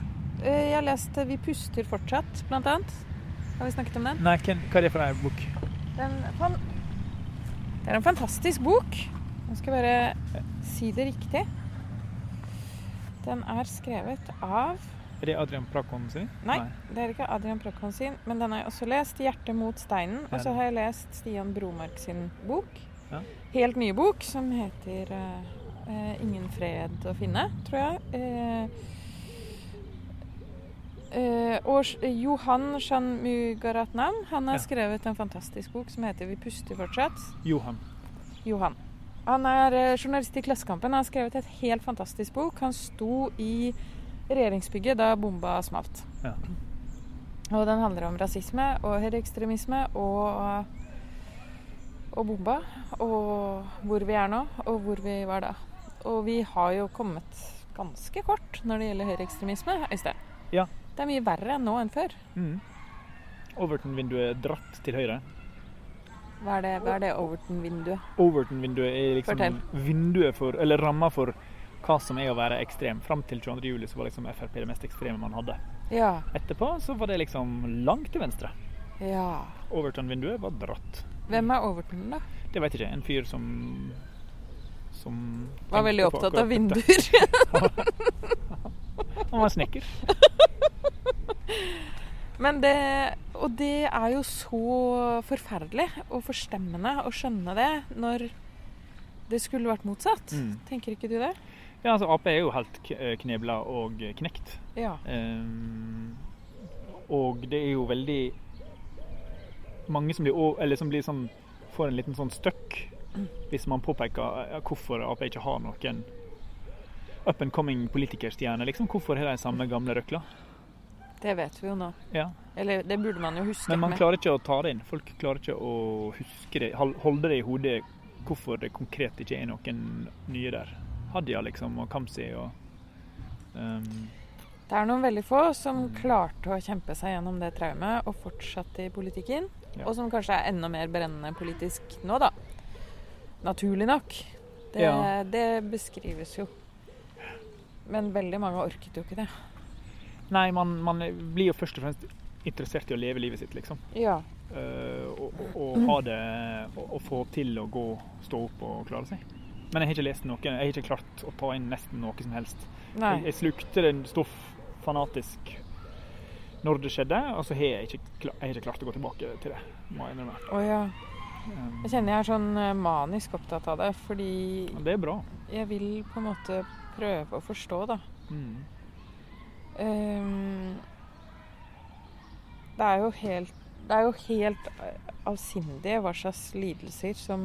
[SPEAKER 1] Eh, jeg har lest eh, 'Vi puster fortsatt', blant annet. Har vi snakket om den?
[SPEAKER 2] Nei, hvem- hva er det for ei bok?
[SPEAKER 1] Den fan... Det er en fantastisk bok. Nå skal jeg bare eh, si det riktig. Den er skrevet av
[SPEAKER 2] Er det Adrian Prakon sin?
[SPEAKER 1] Nei, det er ikke Adrian Prokon sin, men den har jeg også lest. 'Hjertet mot steinen'. Og så har jeg lest Stian Bromark sin bok.
[SPEAKER 2] Ja.
[SPEAKER 1] Helt ny bok, som heter eh, eh, 'Ingen fred å finne', tror jeg. Eh, eh, og Sh- Johan Shanmugaratnam han har
[SPEAKER 2] Ja.
[SPEAKER 1] skrevet en fantastisk bok som heter 'Vi puster fortsatt'.
[SPEAKER 2] Johan.
[SPEAKER 1] Johan. Han er eh, journalist i Klassekampen. Han har skrevet et helt fantastisk bok. Han sto i regjeringsbygget da bomba smalt.
[SPEAKER 2] Ja.
[SPEAKER 1] Og den handler om rasisme og høyreekstremisme og, eh, og bomba. Og hvor vi er nå, og hvor vi var da. Og vi har jo kommet ganske kort når det gjelder høyreekstremisme, Øystein.
[SPEAKER 2] Ja.
[SPEAKER 1] Det er mye verre nå enn før.
[SPEAKER 2] Mm. Overton-vinduet er dratt til høyre.
[SPEAKER 1] Hva er det, hva er det Overton-vinduet?
[SPEAKER 2] Overton-vinduet er liksom
[SPEAKER 1] Fortell.
[SPEAKER 2] vinduet for, eller ramma for hva som er å være ekstrem. Fram til 22. juli så var liksom Frp det mest ekstreme man hadde.
[SPEAKER 1] Ja.
[SPEAKER 2] Etterpå så var det liksom langt til venstre.
[SPEAKER 1] ja.
[SPEAKER 2] Overton-vinduet var dratt.
[SPEAKER 1] Hvem er Overton, da?
[SPEAKER 2] Det veit jeg ikke. En fyr som som
[SPEAKER 1] Var
[SPEAKER 2] tenkte
[SPEAKER 1] veldig
[SPEAKER 2] på
[SPEAKER 1] opptatt
[SPEAKER 2] akkurat
[SPEAKER 1] av
[SPEAKER 2] dette.
[SPEAKER 1] vinduer.
[SPEAKER 2] Han var snekker.
[SPEAKER 1] Men det, og det er jo så forferdelig og forstemmende å skjønne det når det skulle vært motsatt.
[SPEAKER 2] Mm.
[SPEAKER 1] Tenker ikke du det?
[SPEAKER 2] Ja, altså Ap er jo helt k- knebla og knekt.
[SPEAKER 1] Ja.
[SPEAKER 2] Ehm, og det er jo veldig mange som blir, å- eller som blir sånn, får en liten sånn støkk hvis man påpeker eh, hvorfor Ap ikke har noen up and coming politikerstjerne. Liksom. Hvorfor har de samme gamle røkla?
[SPEAKER 1] Det vet vi jo nå.
[SPEAKER 2] Ja.
[SPEAKER 1] Eller det burde man jo huske.
[SPEAKER 2] Men man
[SPEAKER 1] med.
[SPEAKER 2] klarer ikke å ta det inn. Folk klarer ikke å huske det, hol- holde det i hodet hvorfor det konkret ikke er noen nye der. Hadia liksom, og Kamzy og ehm,
[SPEAKER 1] Det er noen veldig få som
[SPEAKER 2] Mm.
[SPEAKER 1] klarte å kjempe seg gjennom det traumet og fortsatte i politikken.
[SPEAKER 2] Ja.
[SPEAKER 1] Og som kanskje er enda mer brennende politisk nå, da. Naturlig nok. Det,
[SPEAKER 2] Ja.
[SPEAKER 1] det beskrives jo. Men veldig mange orket jo ikke det.
[SPEAKER 2] Nei, man, man blir jo først og fremst interessert i å leve livet sitt, liksom.
[SPEAKER 1] Ja.
[SPEAKER 2] Eh, og, og, og ha det og, og få til å gå, stå opp og klare seg. Men jeg har ikke lest noe. Jeg har ikke klart å ta inn nesten noe som helst.
[SPEAKER 1] Nei.
[SPEAKER 2] Jeg, jeg slukte den stoff fanatisk når det skjedde, og så har jeg ikke, kla- jeg har ikke klart å gå tilbake til det. Må jeg innrømme.
[SPEAKER 1] Å ja.
[SPEAKER 2] Um,
[SPEAKER 1] Jeg kjenner jeg er sånn eh, manisk opptatt av det, fordi
[SPEAKER 2] men det er bra.
[SPEAKER 1] jeg vil på en måte prøve å forstå, da.
[SPEAKER 2] Mm.
[SPEAKER 1] Ehm, det er jo helt det er jo helt eh, avsindig hva slags lidelser som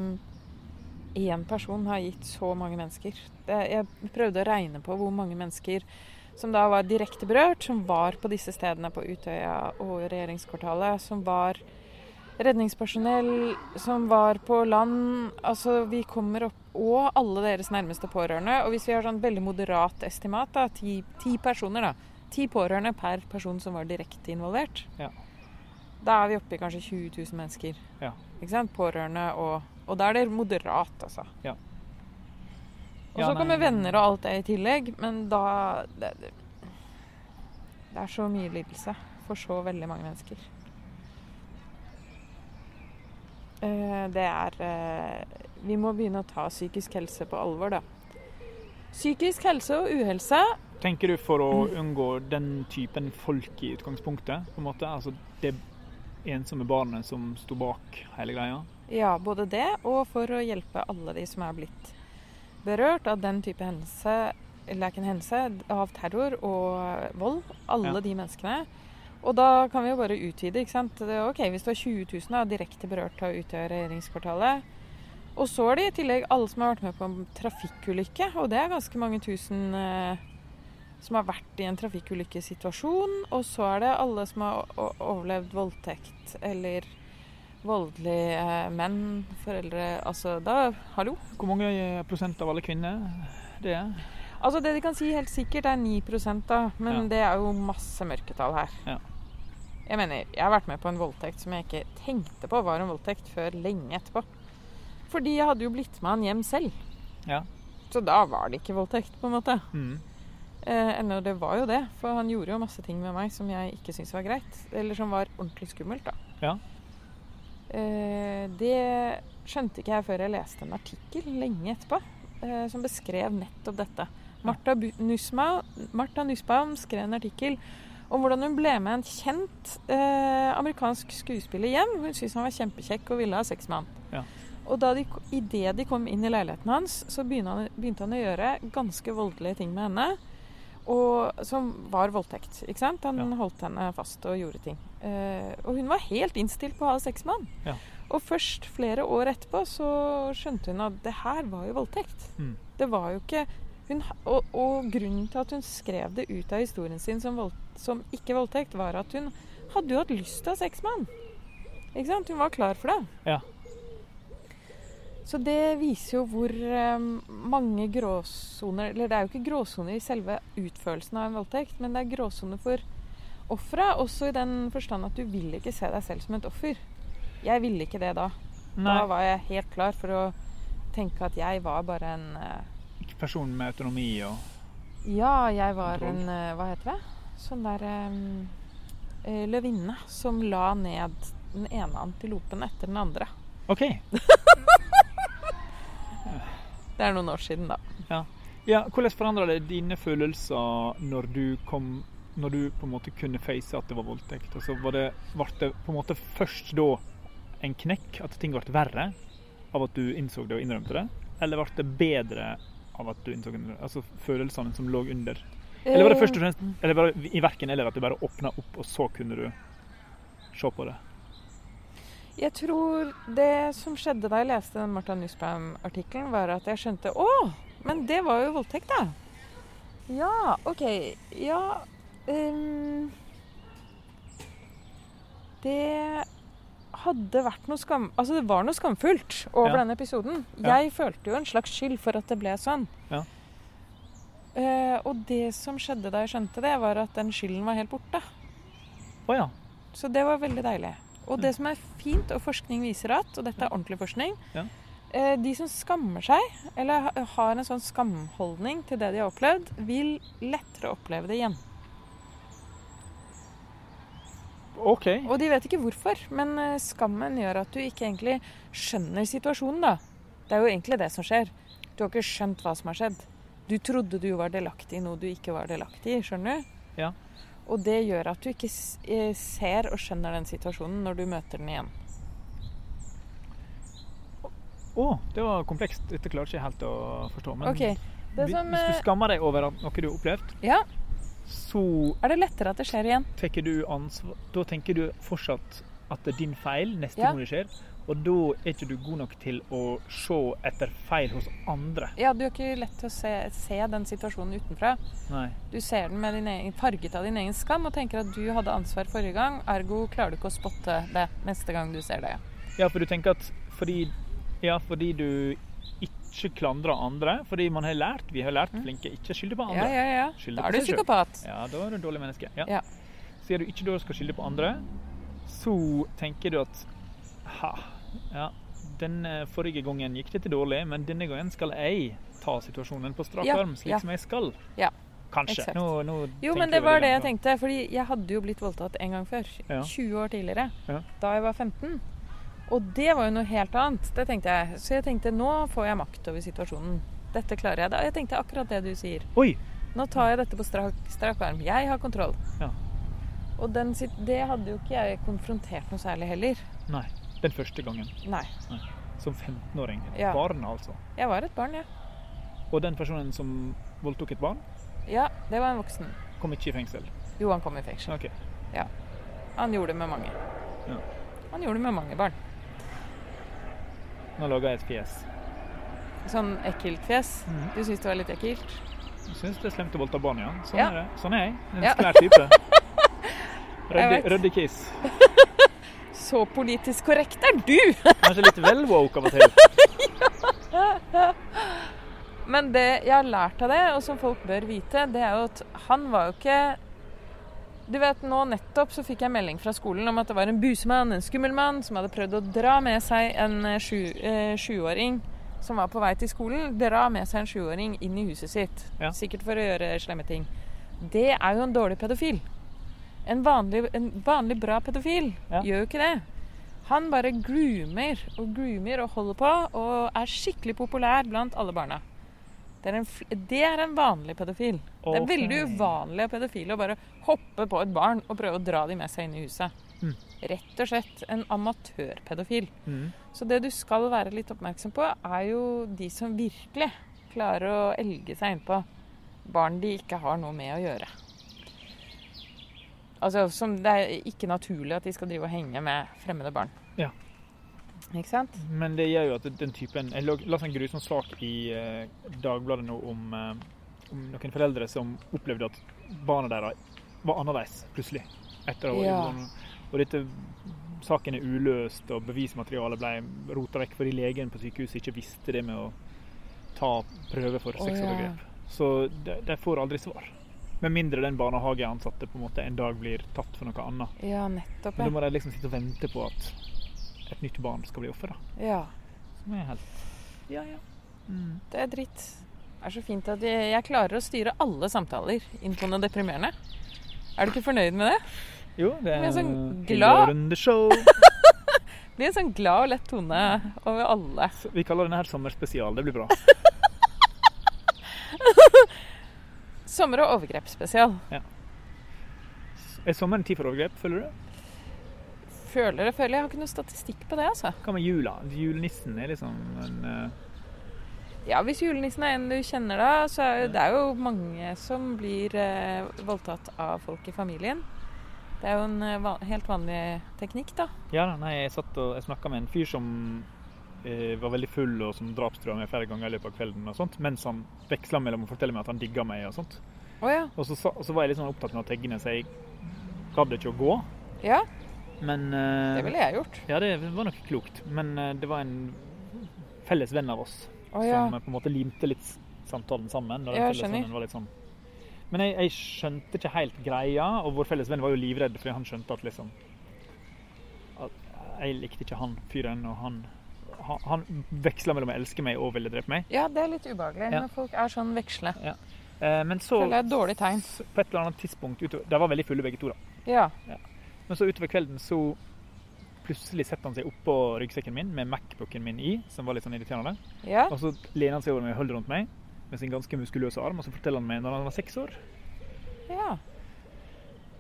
[SPEAKER 1] én person har gitt så mange mennesker. Det, jeg prøvde å regne på hvor mange mennesker som da var direkte berørt, som var på disse stedene på Utøya og regjeringskvartalet, som var redningspersonell, som var på land Altså, vi kommer opp Og alle deres nærmeste pårørende. Og hvis vi har sånn veldig moderat estimat, da, ti, ti personer, da. Ti pårørende per person som var direkte involvert.
[SPEAKER 2] Ja.
[SPEAKER 1] Da er vi oppe i kanskje 20 000 mennesker.
[SPEAKER 2] Ja.
[SPEAKER 1] Ikke sant? Pårørende og Og da er det moderat, altså.
[SPEAKER 2] Ja.
[SPEAKER 1] Og
[SPEAKER 2] Ja,
[SPEAKER 1] så
[SPEAKER 2] nei,
[SPEAKER 1] kommer
[SPEAKER 2] men-
[SPEAKER 1] venner og alt det i tillegg, men da det, det, det er så mye lidelse for så veldig mange mennesker. Eh, Det er eh, Vi må begynne å ta psykisk helse på alvor, da. Psykisk helse og uhelse
[SPEAKER 2] Tenker du for å unngå den typen folk i utgangspunktet? på en måte? Altså det ensomme barnet som sto bak hele greia?
[SPEAKER 1] Ja, både det, og for å hjelpe alle de som er blitt berørt av den type hendelse, eller ikke en hendelse, av terror og vold. Alle
[SPEAKER 2] Ja.
[SPEAKER 1] de menneskene. Og da kan vi jo bare utvide, ikke sant. Det er ok, Hvis det var 20 000 da, direkte berørt av Utøya og regjeringskvartalet. Og så er det i tillegg alle som har vært med på en trafikkulykke, og det er ganske mange tusen eh, som har vært i en trafikkulykkesituasjon. Og så er det alle som har o- o- overlevd voldtekt eller voldelige eh, menn, foreldre Altså, da Hallo?
[SPEAKER 2] Hvor mange eh, prosent av alle kvinner det er?
[SPEAKER 1] Altså Det de kan si helt sikkert, er 9 da. Men
[SPEAKER 2] Ja.
[SPEAKER 1] det er jo masse mørketall her.
[SPEAKER 2] Ja.
[SPEAKER 1] Jeg mener, jeg har vært med på en voldtekt som jeg ikke tenkte på var en voldtekt, før lenge etterpå. Fordi jeg hadde jo blitt med han hjem selv.
[SPEAKER 2] Ja.
[SPEAKER 1] Så da var det ikke voldtekt, på en måte.
[SPEAKER 2] Mm.
[SPEAKER 1] Eh, ennå det var jo det, for han gjorde jo masse ting med meg som jeg ikke syntes var greit. Eller som var ordentlig skummelt, da.
[SPEAKER 2] Ja.
[SPEAKER 1] Eh, det skjønte ikke jeg før jeg leste en artikkel lenge etterpå eh, som beskrev nettopp dette. Martha, Bu- Nussma, Martha Nussbaum skrev en artikkel om hvordan hun ble med en kjent eh, amerikansk skuespiller hjem. Hun syntes han var kjempekjekk og ville ha sex med han.
[SPEAKER 2] Ja.
[SPEAKER 1] Og da de, idet de kom inn i leiligheten hans, så begynte han, begynte han å gjøre ganske voldelige ting med henne. Og, som var voldtekt. ikke sant? Han
[SPEAKER 2] Ja.
[SPEAKER 1] holdt henne fast og gjorde ting. Eh, og hun var helt innstilt på å ha sex med han.
[SPEAKER 2] Ja.
[SPEAKER 1] Og først flere år etterpå så skjønte hun at det her var jo voldtekt.
[SPEAKER 2] Mm.
[SPEAKER 1] Det var jo ikke hun, og, og grunnen til at hun skrev det ut av historien sin som, vold, som ikke voldtekt, var at hun hadde jo hatt lyst til å ha sex med han. Ikke sant? Hun var klar for det.
[SPEAKER 2] Ja.
[SPEAKER 1] Så det viser jo hvor eh, mange gråsoner Eller det er jo ikke gråsoner i selve utførelsen av en voldtekt, men det er gråsoner for offeret. Også i den forstand at du vil ikke se deg selv som et offer. Jeg ville ikke det da.
[SPEAKER 2] Nei,
[SPEAKER 1] Da var jeg helt klar for å tenke at jeg var bare en eh,
[SPEAKER 2] person med autonomi og
[SPEAKER 1] ja, jeg var
[SPEAKER 2] Kontroll.
[SPEAKER 1] en eh, Hva heter det? Sånn der em, eh, løvinne som la ned den ene antilopen etter den andre.
[SPEAKER 2] OK.
[SPEAKER 1] Det er noen år siden, da.
[SPEAKER 2] Ja, hvordan forandra det dine følelser når du kom Når du på en måte kunne face at det var voldtekt? Og så var det, ble det på en måte først da en knekk, at ting ble verre av at du innså det og innrømte det? Eller ble det bedre av at du innså det? Altså følelsene som lå under? Eller
[SPEAKER 1] Eh,
[SPEAKER 2] var det først og fremst eller bare, i verken eller at du bare åpna opp, og så kunne du se på det?
[SPEAKER 1] Jeg tror det som skjedde da jeg leste den Martha Nussbaum-artikkelen, var at jeg skjønte Å, men det var jo voldtekt, da. Ja, OK. Ja ehm, Det hadde vært noe skam... Altså, det var noe skamfullt over
[SPEAKER 2] Ja.
[SPEAKER 1] denne episoden.
[SPEAKER 2] Ja.
[SPEAKER 1] Jeg følte jo en slags skyld for at det ble sånn.
[SPEAKER 2] Ja.
[SPEAKER 1] Eh, og det som skjedde da jeg skjønte det, var at den skylden var helt borte.
[SPEAKER 2] Å ja.
[SPEAKER 1] Så det var veldig deilig. Og det som er fint, og forskning viser at, og dette er ordentlig forskning
[SPEAKER 2] Mm. Ja.
[SPEAKER 1] eh, De som skammer seg, eller ha- har en sånn skamholdning til det de har opplevd, vil lettere oppleve det igjen.
[SPEAKER 2] OK.
[SPEAKER 1] Og de vet ikke hvorfor, men eh, skammen gjør at du ikke egentlig skjønner situasjonen, da. Det er jo egentlig det som skjer. Du har ikke skjønt hva som har skjedd. Du trodde du var delaktig i noe du ikke var delaktig i, skjønner du?
[SPEAKER 2] Ja.
[SPEAKER 1] Og det gjør at du ikke s- eh, ser og skjønner den situasjonen når du møter den igjen.
[SPEAKER 2] Å, det var komplekst. Dette klarer ikke jeg helt å forstå. Men
[SPEAKER 1] OK. Det
[SPEAKER 2] hvis-
[SPEAKER 1] som,
[SPEAKER 2] hvis
[SPEAKER 1] eh,
[SPEAKER 2] du skammer deg over at noe du har opplevd,
[SPEAKER 1] Ja,
[SPEAKER 2] så
[SPEAKER 1] er det lettere at det skjer igjen?
[SPEAKER 2] tenker du ansvar Da tenker du fortsatt at det er din feil neste
[SPEAKER 1] Ja.
[SPEAKER 2] gang det skjer. Og da er ikke du god nok til å se etter feil hos andre.
[SPEAKER 1] Ja, du er ikke lett til å se, se den situasjonen utenfra.
[SPEAKER 2] Nei.
[SPEAKER 1] Du ser den med din egen, farget av din egen skam og tenker at du hadde ansvar forrige gang, ergo klarer du ikke å spotte det neste gang du ser det.
[SPEAKER 2] Ja, for du tenker at fordi, ja, fordi du ikke klandrer andre, fordi man har lært, vi har lært flinke, ikke skylde på
[SPEAKER 1] Mm. Ja,
[SPEAKER 2] andre.
[SPEAKER 1] ja, ja.
[SPEAKER 2] Skylder
[SPEAKER 1] Da
[SPEAKER 2] på
[SPEAKER 1] er du
[SPEAKER 2] seg selv.
[SPEAKER 1] psykopat.
[SPEAKER 2] Ja, da er du et dårlig menneske. Ja.
[SPEAKER 1] Ja.
[SPEAKER 2] Sier du ikke da du skal skylde på andre, så tenker du at ha, ja, den eh, forrige gangen gikk dette dårlig, men denne gangen skal jeg ta situasjonen på strak
[SPEAKER 1] Ja,
[SPEAKER 2] arm, slik
[SPEAKER 1] ja.
[SPEAKER 2] som jeg skal.
[SPEAKER 1] Ja,
[SPEAKER 2] Kanskje.
[SPEAKER 1] eksakt.
[SPEAKER 2] Nå, nå
[SPEAKER 1] Jo,
[SPEAKER 2] tenker
[SPEAKER 1] men det
[SPEAKER 2] jeg
[SPEAKER 1] var
[SPEAKER 2] veldig
[SPEAKER 1] det jeg
[SPEAKER 2] langt
[SPEAKER 1] tenkte. Fordi jeg hadde jo blitt voldtatt en gang før.
[SPEAKER 2] Ja.
[SPEAKER 1] 20 år tidligere.
[SPEAKER 2] Ja.
[SPEAKER 1] Da jeg var 15. Og det var jo noe helt annet. Det tenkte jeg. Så jeg tenkte nå får jeg makt over situasjonen. Dette klarer jeg. Da- Jeg tenkte akkurat det du sier.
[SPEAKER 2] på. Oi!
[SPEAKER 1] Nå tar jeg dette på strak, strak arm. Jeg har kontroll.
[SPEAKER 2] Ja.
[SPEAKER 1] Og den, sit- det hadde jo ikke jeg konfrontert noe særlig heller.
[SPEAKER 2] Nei. Den første gangen.
[SPEAKER 1] Nei.
[SPEAKER 2] Som 15-åring. Et
[SPEAKER 1] Ja.
[SPEAKER 2] Barn, altså.
[SPEAKER 1] Jeg var et barn, jeg.
[SPEAKER 2] Og den personen som voldtok et barn,
[SPEAKER 1] Ja. ja, det var en voksen.
[SPEAKER 2] kom ikke i fengsel.
[SPEAKER 1] Jo, han kom i fengsel.
[SPEAKER 2] Ok.
[SPEAKER 1] Han gjorde det med mange.
[SPEAKER 2] Ja.
[SPEAKER 1] Han gjorde det med mange barn.
[SPEAKER 2] Nå lager jeg et fjes.
[SPEAKER 1] Sånn ekkelt fjes.
[SPEAKER 2] Mhm.
[SPEAKER 1] Du syns det var litt ekkelt?
[SPEAKER 2] Jeg syns det er slemt å voldta barn, ja. Sånn
[SPEAKER 1] Ja.
[SPEAKER 2] er det. Sånn er jeg. En
[SPEAKER 1] Ja.
[SPEAKER 2] sklær type.
[SPEAKER 1] Jeg vet.
[SPEAKER 2] Rødde kiss.
[SPEAKER 1] Så politisk korrekt er du!
[SPEAKER 2] Kanskje litt vel woke av og til.
[SPEAKER 1] Men det jeg har lært av det, og som folk bør vite, det er jo at han var jo ikke Du vet, nå nettopp så fikk jeg melding fra skolen om at det var en busemann, en skummel mann, som hadde prøvd å dra med seg en eh, sju- eh, sjuåring som var på vei til skolen. Dra med seg en sjuåring inn i huset sitt.
[SPEAKER 2] Ja.
[SPEAKER 1] Sikkert for å gjøre slemme ting. Det er jo en dårlig pedofil. En vanlig, en vanlig bra pedofil
[SPEAKER 2] Ja.
[SPEAKER 1] gjør jo ikke det. Han bare groomer og groomer og holder på, og er skikkelig populær blant alle barna. Det er en, fl- det er en vanlig pedofil. Det er
[SPEAKER 2] Ok.
[SPEAKER 1] veldig uvanlig av pedofile å bare hoppe på et barn og prøve å dra dem med seg inn i huset.
[SPEAKER 2] Mm.
[SPEAKER 1] Rett og slett en amatørpedofil.
[SPEAKER 2] Mm.
[SPEAKER 1] Så det du skal være litt oppmerksom på, er jo de som virkelig klarer å elge seg innpå barn de ikke har noe med å gjøre. Altså, som Det er ikke naturlig at de skal drive og henge med fremmede barn.
[SPEAKER 2] Ja.
[SPEAKER 1] Ikke sant?
[SPEAKER 2] Men det gjør jo at den typen Jeg lag- leste en grusom sak i eh, Dagbladet nå om, eh, om noen foreldre som opplevde at barna deres var annerledes plutselig. Etter å,
[SPEAKER 1] Ja.
[SPEAKER 2] Og dette saken er uløst, og bevismaterialet ble rota vekk fordi legen på sykehuset ikke visste det med å ta prøve for
[SPEAKER 1] Å, ja.
[SPEAKER 2] sexovergrep. Så de, de får aldri svar. Med mindre den barnehageansatte på en måte en dag blir tatt for noe annet.
[SPEAKER 1] Ja, nettopp.
[SPEAKER 2] Men da
[SPEAKER 1] Ja.
[SPEAKER 2] må de liksom sitte og vente på at et nytt barn skal bli offer, da.
[SPEAKER 1] ja.
[SPEAKER 2] Som er helt Ja, ja. Mm.
[SPEAKER 1] Det er dritt. Det er så fint at jeg, jeg klarer å styre alle samtaler inn på noe deprimerende. Er du ikke fornøyd med det?
[SPEAKER 2] Jo, det
[SPEAKER 1] Men
[SPEAKER 2] er
[SPEAKER 1] sånn glad-
[SPEAKER 2] Hilderunde-show.
[SPEAKER 1] Det blir en sånn glad og lett tone over alle.
[SPEAKER 2] Vi kaller denne her sommerspesial. Det blir bra.
[SPEAKER 1] Sommer- og overgrepsspesial.
[SPEAKER 2] Er sommeren tid for overgrep, føler du?
[SPEAKER 1] Føler det, føler jeg. Jeg har ikke noe statistikk på det, altså.
[SPEAKER 2] Hva med jula? Julenissen er liksom en eh,
[SPEAKER 1] Ja, hvis julenissen er en du kjenner da, så er jo- det er jo mange som blir eh, voldtatt av folk i familien. Det er jo en eh, va helt vanlig teknikk, da.
[SPEAKER 2] Ja da, nei, jeg satt og jeg snakka med en fyr som eh, var veldig full og som drapstrua meg flere ganger i løpet av kvelden og sånt, mens han veksla mellom å fortelle meg at han digga meg og sånt.
[SPEAKER 1] Å ja.
[SPEAKER 2] Og så, sa- og så var jeg litt sånn opptatt med å tegne, så jeg gadd ikke å gå.
[SPEAKER 1] Ja.
[SPEAKER 2] Men eh,
[SPEAKER 1] Det ville jeg gjort.
[SPEAKER 2] Ja, det var nok klokt. Men eh, det var en felles venn av oss
[SPEAKER 1] Å ja.
[SPEAKER 2] som eh, på en måte limte litt s- samtalen sammen. Og den
[SPEAKER 1] Ja,
[SPEAKER 2] felles
[SPEAKER 1] skjønner.
[SPEAKER 2] vennen var litt sånn. Men jeg, jeg skjønte ikke helt greia, og vår felles venn var jo livredd fordi han skjønte at liksom at Jeg likte ikke han fyren, og han han- han veksla mellom å elske meg og ville drepe meg.
[SPEAKER 1] ja, det er litt ubehagelig
[SPEAKER 2] Ja.
[SPEAKER 1] når folk er sånn veksle.
[SPEAKER 2] Eh, Men så
[SPEAKER 1] Føler jeg er et dårlig tegn.
[SPEAKER 2] s- på et eller annet tidspunkt utover, De var veldig fulle begge to, da.
[SPEAKER 1] Ja.
[SPEAKER 2] Men så utover kvelden så plutselig setter han seg oppå ryggsekken min med Macbooken min i, som var litt sånn irriterende.
[SPEAKER 1] ja.
[SPEAKER 2] Og så lener han seg over meg og holder rundt meg med sin ganske muskuløse arm, og så forteller han meg når han var seks år,
[SPEAKER 1] Ja.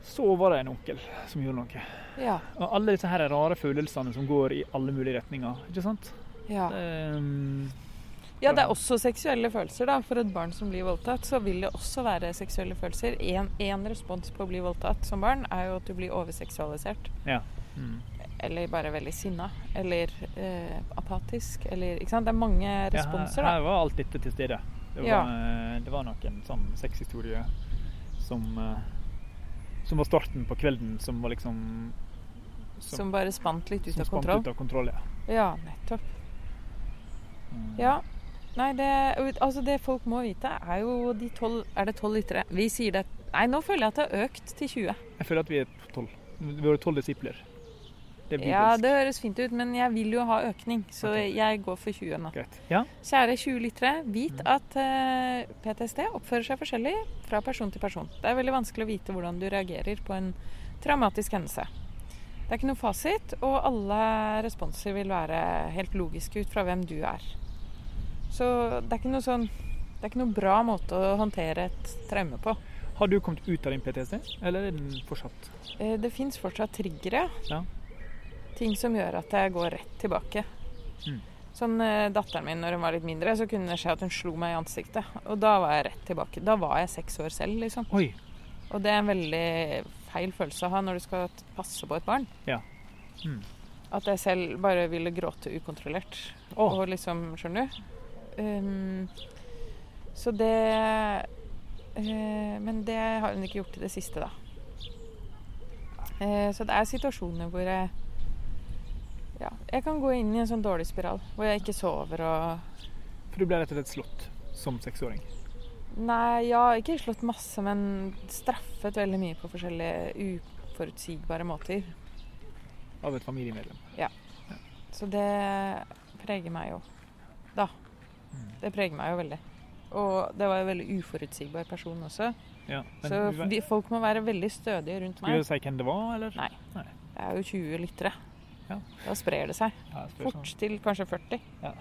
[SPEAKER 2] så var det en onkel som gjorde noe.
[SPEAKER 1] Ja.
[SPEAKER 2] Og alle disse her rare følelsene som går i alle mulige retninger, ikke sant?
[SPEAKER 1] ja.
[SPEAKER 2] Ehm,
[SPEAKER 1] Ja, det er også seksuelle følelser, da. For et barn som blir voldtatt, så vil det også være seksuelle følelser. Én respons på å bli voldtatt som barn er jo at du blir overseksualisert.
[SPEAKER 2] mm.
[SPEAKER 1] Eller bare veldig sinna. Eller eh, apatisk. Eller Ikke sant. Det er mange
[SPEAKER 2] Ja, her,
[SPEAKER 1] responser, da.
[SPEAKER 2] her var alt dette til stede. Det var,
[SPEAKER 1] Ja.
[SPEAKER 2] det var nok en sånn sexhistorie som, eh, som var starten på kvelden, som var liksom
[SPEAKER 1] Som bare spant litt ut
[SPEAKER 2] som
[SPEAKER 1] av
[SPEAKER 2] spant
[SPEAKER 1] kontroll.
[SPEAKER 2] ut av kontroll. Ja.
[SPEAKER 1] Ja, nettopp.
[SPEAKER 2] Mm.
[SPEAKER 1] Ja. Nei, det, altså det folk må vite, er jo de tolv Er det tolv lyttere? Vi sier det Nei, nå føler jeg at det har økt til 20.
[SPEAKER 2] Jeg føler at vi er tolv. Vi var tolv disipler. Det er
[SPEAKER 1] Ja,
[SPEAKER 2] bibelsk.
[SPEAKER 1] det høres fint ut, men jeg vil jo ha økning, så
[SPEAKER 2] Ok.
[SPEAKER 1] jeg går for 20 nå.
[SPEAKER 2] Greit. Ja.
[SPEAKER 1] Kjære 20 lyttere, vit
[SPEAKER 2] Mm.
[SPEAKER 1] at eh, PTSD oppfører seg forskjellig fra person til person. Det er veldig vanskelig å vite hvordan du reagerer på en traumatisk hendelse. Det er ikke noe fasit, og alle responser vil være helt logiske ut fra hvem du er. Så det er ikke noe sånn Det er ikke noe bra måte å håndtere et traume på.
[SPEAKER 2] Har du kommet ut av din PTSD, eller er den fortsatt?
[SPEAKER 1] Eh, Det fins fortsatt triggere.
[SPEAKER 2] Ja.
[SPEAKER 1] Ting som gjør at jeg går rett tilbake.
[SPEAKER 2] Mm.
[SPEAKER 1] Sånn eh, Datteren min når hun var litt mindre, så kunne det skje at hun slo meg i ansiktet. Og da var jeg rett tilbake. Da var jeg seks år selv, liksom.
[SPEAKER 2] Oi!
[SPEAKER 1] Og det er en veldig feil følelse å ha når du skal t- passe på et barn.
[SPEAKER 2] Ja. Mm.
[SPEAKER 1] At jeg selv bare ville gråte ukontrollert.
[SPEAKER 2] Å.
[SPEAKER 1] Og liksom, skjønner du? Um, så det eh, Men det har hun ikke gjort i det siste, da. Eh, så det er situasjoner hvor jeg ja, jeg kan gå inn i en sånn dårlig spiral hvor jeg ikke sover og
[SPEAKER 2] For du ble rett og slett slått som seksåring.
[SPEAKER 1] Nei, ja, ikke slått masse, men straffet veldig mye på forskjellige uforutsigbare måter.
[SPEAKER 2] Av et familiemedlem.
[SPEAKER 1] Så det preger meg jo. Da. Det preger meg jo veldig. Og det var jo en veldig uforutsigbar person også.
[SPEAKER 2] Ja. Men
[SPEAKER 1] Så
[SPEAKER 2] du,
[SPEAKER 1] vi, folk må være veldig stødige rundt
[SPEAKER 2] skal
[SPEAKER 1] meg.
[SPEAKER 2] du si hvem det var, eller?
[SPEAKER 1] Nei. Det er jo 20 lyttere.
[SPEAKER 2] Ja.
[SPEAKER 1] Da sprer det seg.
[SPEAKER 2] Ja, jeg spør sånn.
[SPEAKER 1] Fort til kanskje 40.
[SPEAKER 2] Ja.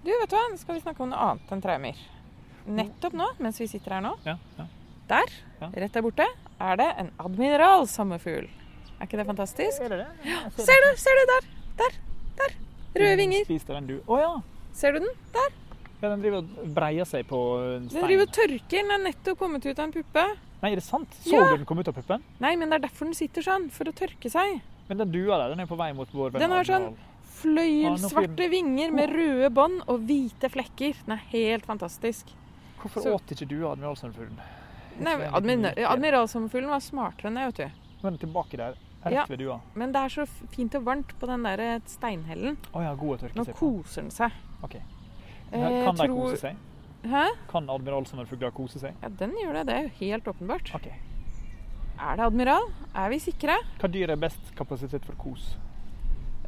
[SPEAKER 1] Du, vet du hva? Nå skal vi snakke om noe annet enn traumer. Nettopp nå, mens vi sitter her nå,
[SPEAKER 2] sånn. Ja, ja.
[SPEAKER 1] der,
[SPEAKER 2] Ja.
[SPEAKER 1] rett der borte, er det en admiralsammefugl. Er ikke det fantastisk?
[SPEAKER 2] Er det det? Jeg
[SPEAKER 1] Ser du, ser du der! Der! Der! Røde
[SPEAKER 2] Du
[SPEAKER 1] vinger.
[SPEAKER 2] Spiste den du Å ja.
[SPEAKER 1] Ser du den?
[SPEAKER 2] ja! Den driver og breier seg på en
[SPEAKER 1] Den
[SPEAKER 2] stein.
[SPEAKER 1] driver og tørker. Den er nettopp kommet ut av en puppe.
[SPEAKER 2] Nei, er det sant? Så
[SPEAKER 1] Ja.
[SPEAKER 2] du den kom ut av puppen?
[SPEAKER 1] Nei, men det er derfor den sitter sånn. For å tørke seg.
[SPEAKER 2] Men den dua der, den er på vei mot vår venn
[SPEAKER 1] Den har sånn-
[SPEAKER 2] Admiral.
[SPEAKER 1] Fløyelsvarte vinger med røde bånd og hvite flekker. Den er helt fantastisk.
[SPEAKER 2] Hvorfor
[SPEAKER 1] Så-
[SPEAKER 2] åt ikke du admiralsandfuglen?
[SPEAKER 1] Nei, admir- Admiralsomfuglen var smartere enn det, vet du.
[SPEAKER 2] Men tilbake der, rett
[SPEAKER 1] Ja.
[SPEAKER 2] ved dua.
[SPEAKER 1] Men det er så fint og varmt på den der eh, steinhellen.
[SPEAKER 2] Å ja, god å tørke
[SPEAKER 1] Nå
[SPEAKER 2] seg på.
[SPEAKER 1] koser den seg.
[SPEAKER 2] Ok.
[SPEAKER 1] Eh,
[SPEAKER 2] Kan de
[SPEAKER 1] tror-
[SPEAKER 2] kose seg?
[SPEAKER 1] Hæ?
[SPEAKER 2] Kan admiralsommerfugler kose seg?
[SPEAKER 1] Ja, den gjør det. Det er jo helt åpenbart.
[SPEAKER 2] Ok.
[SPEAKER 1] Er det admiral? Er vi sikre?
[SPEAKER 2] Hva dyr er best kapasitet for kos?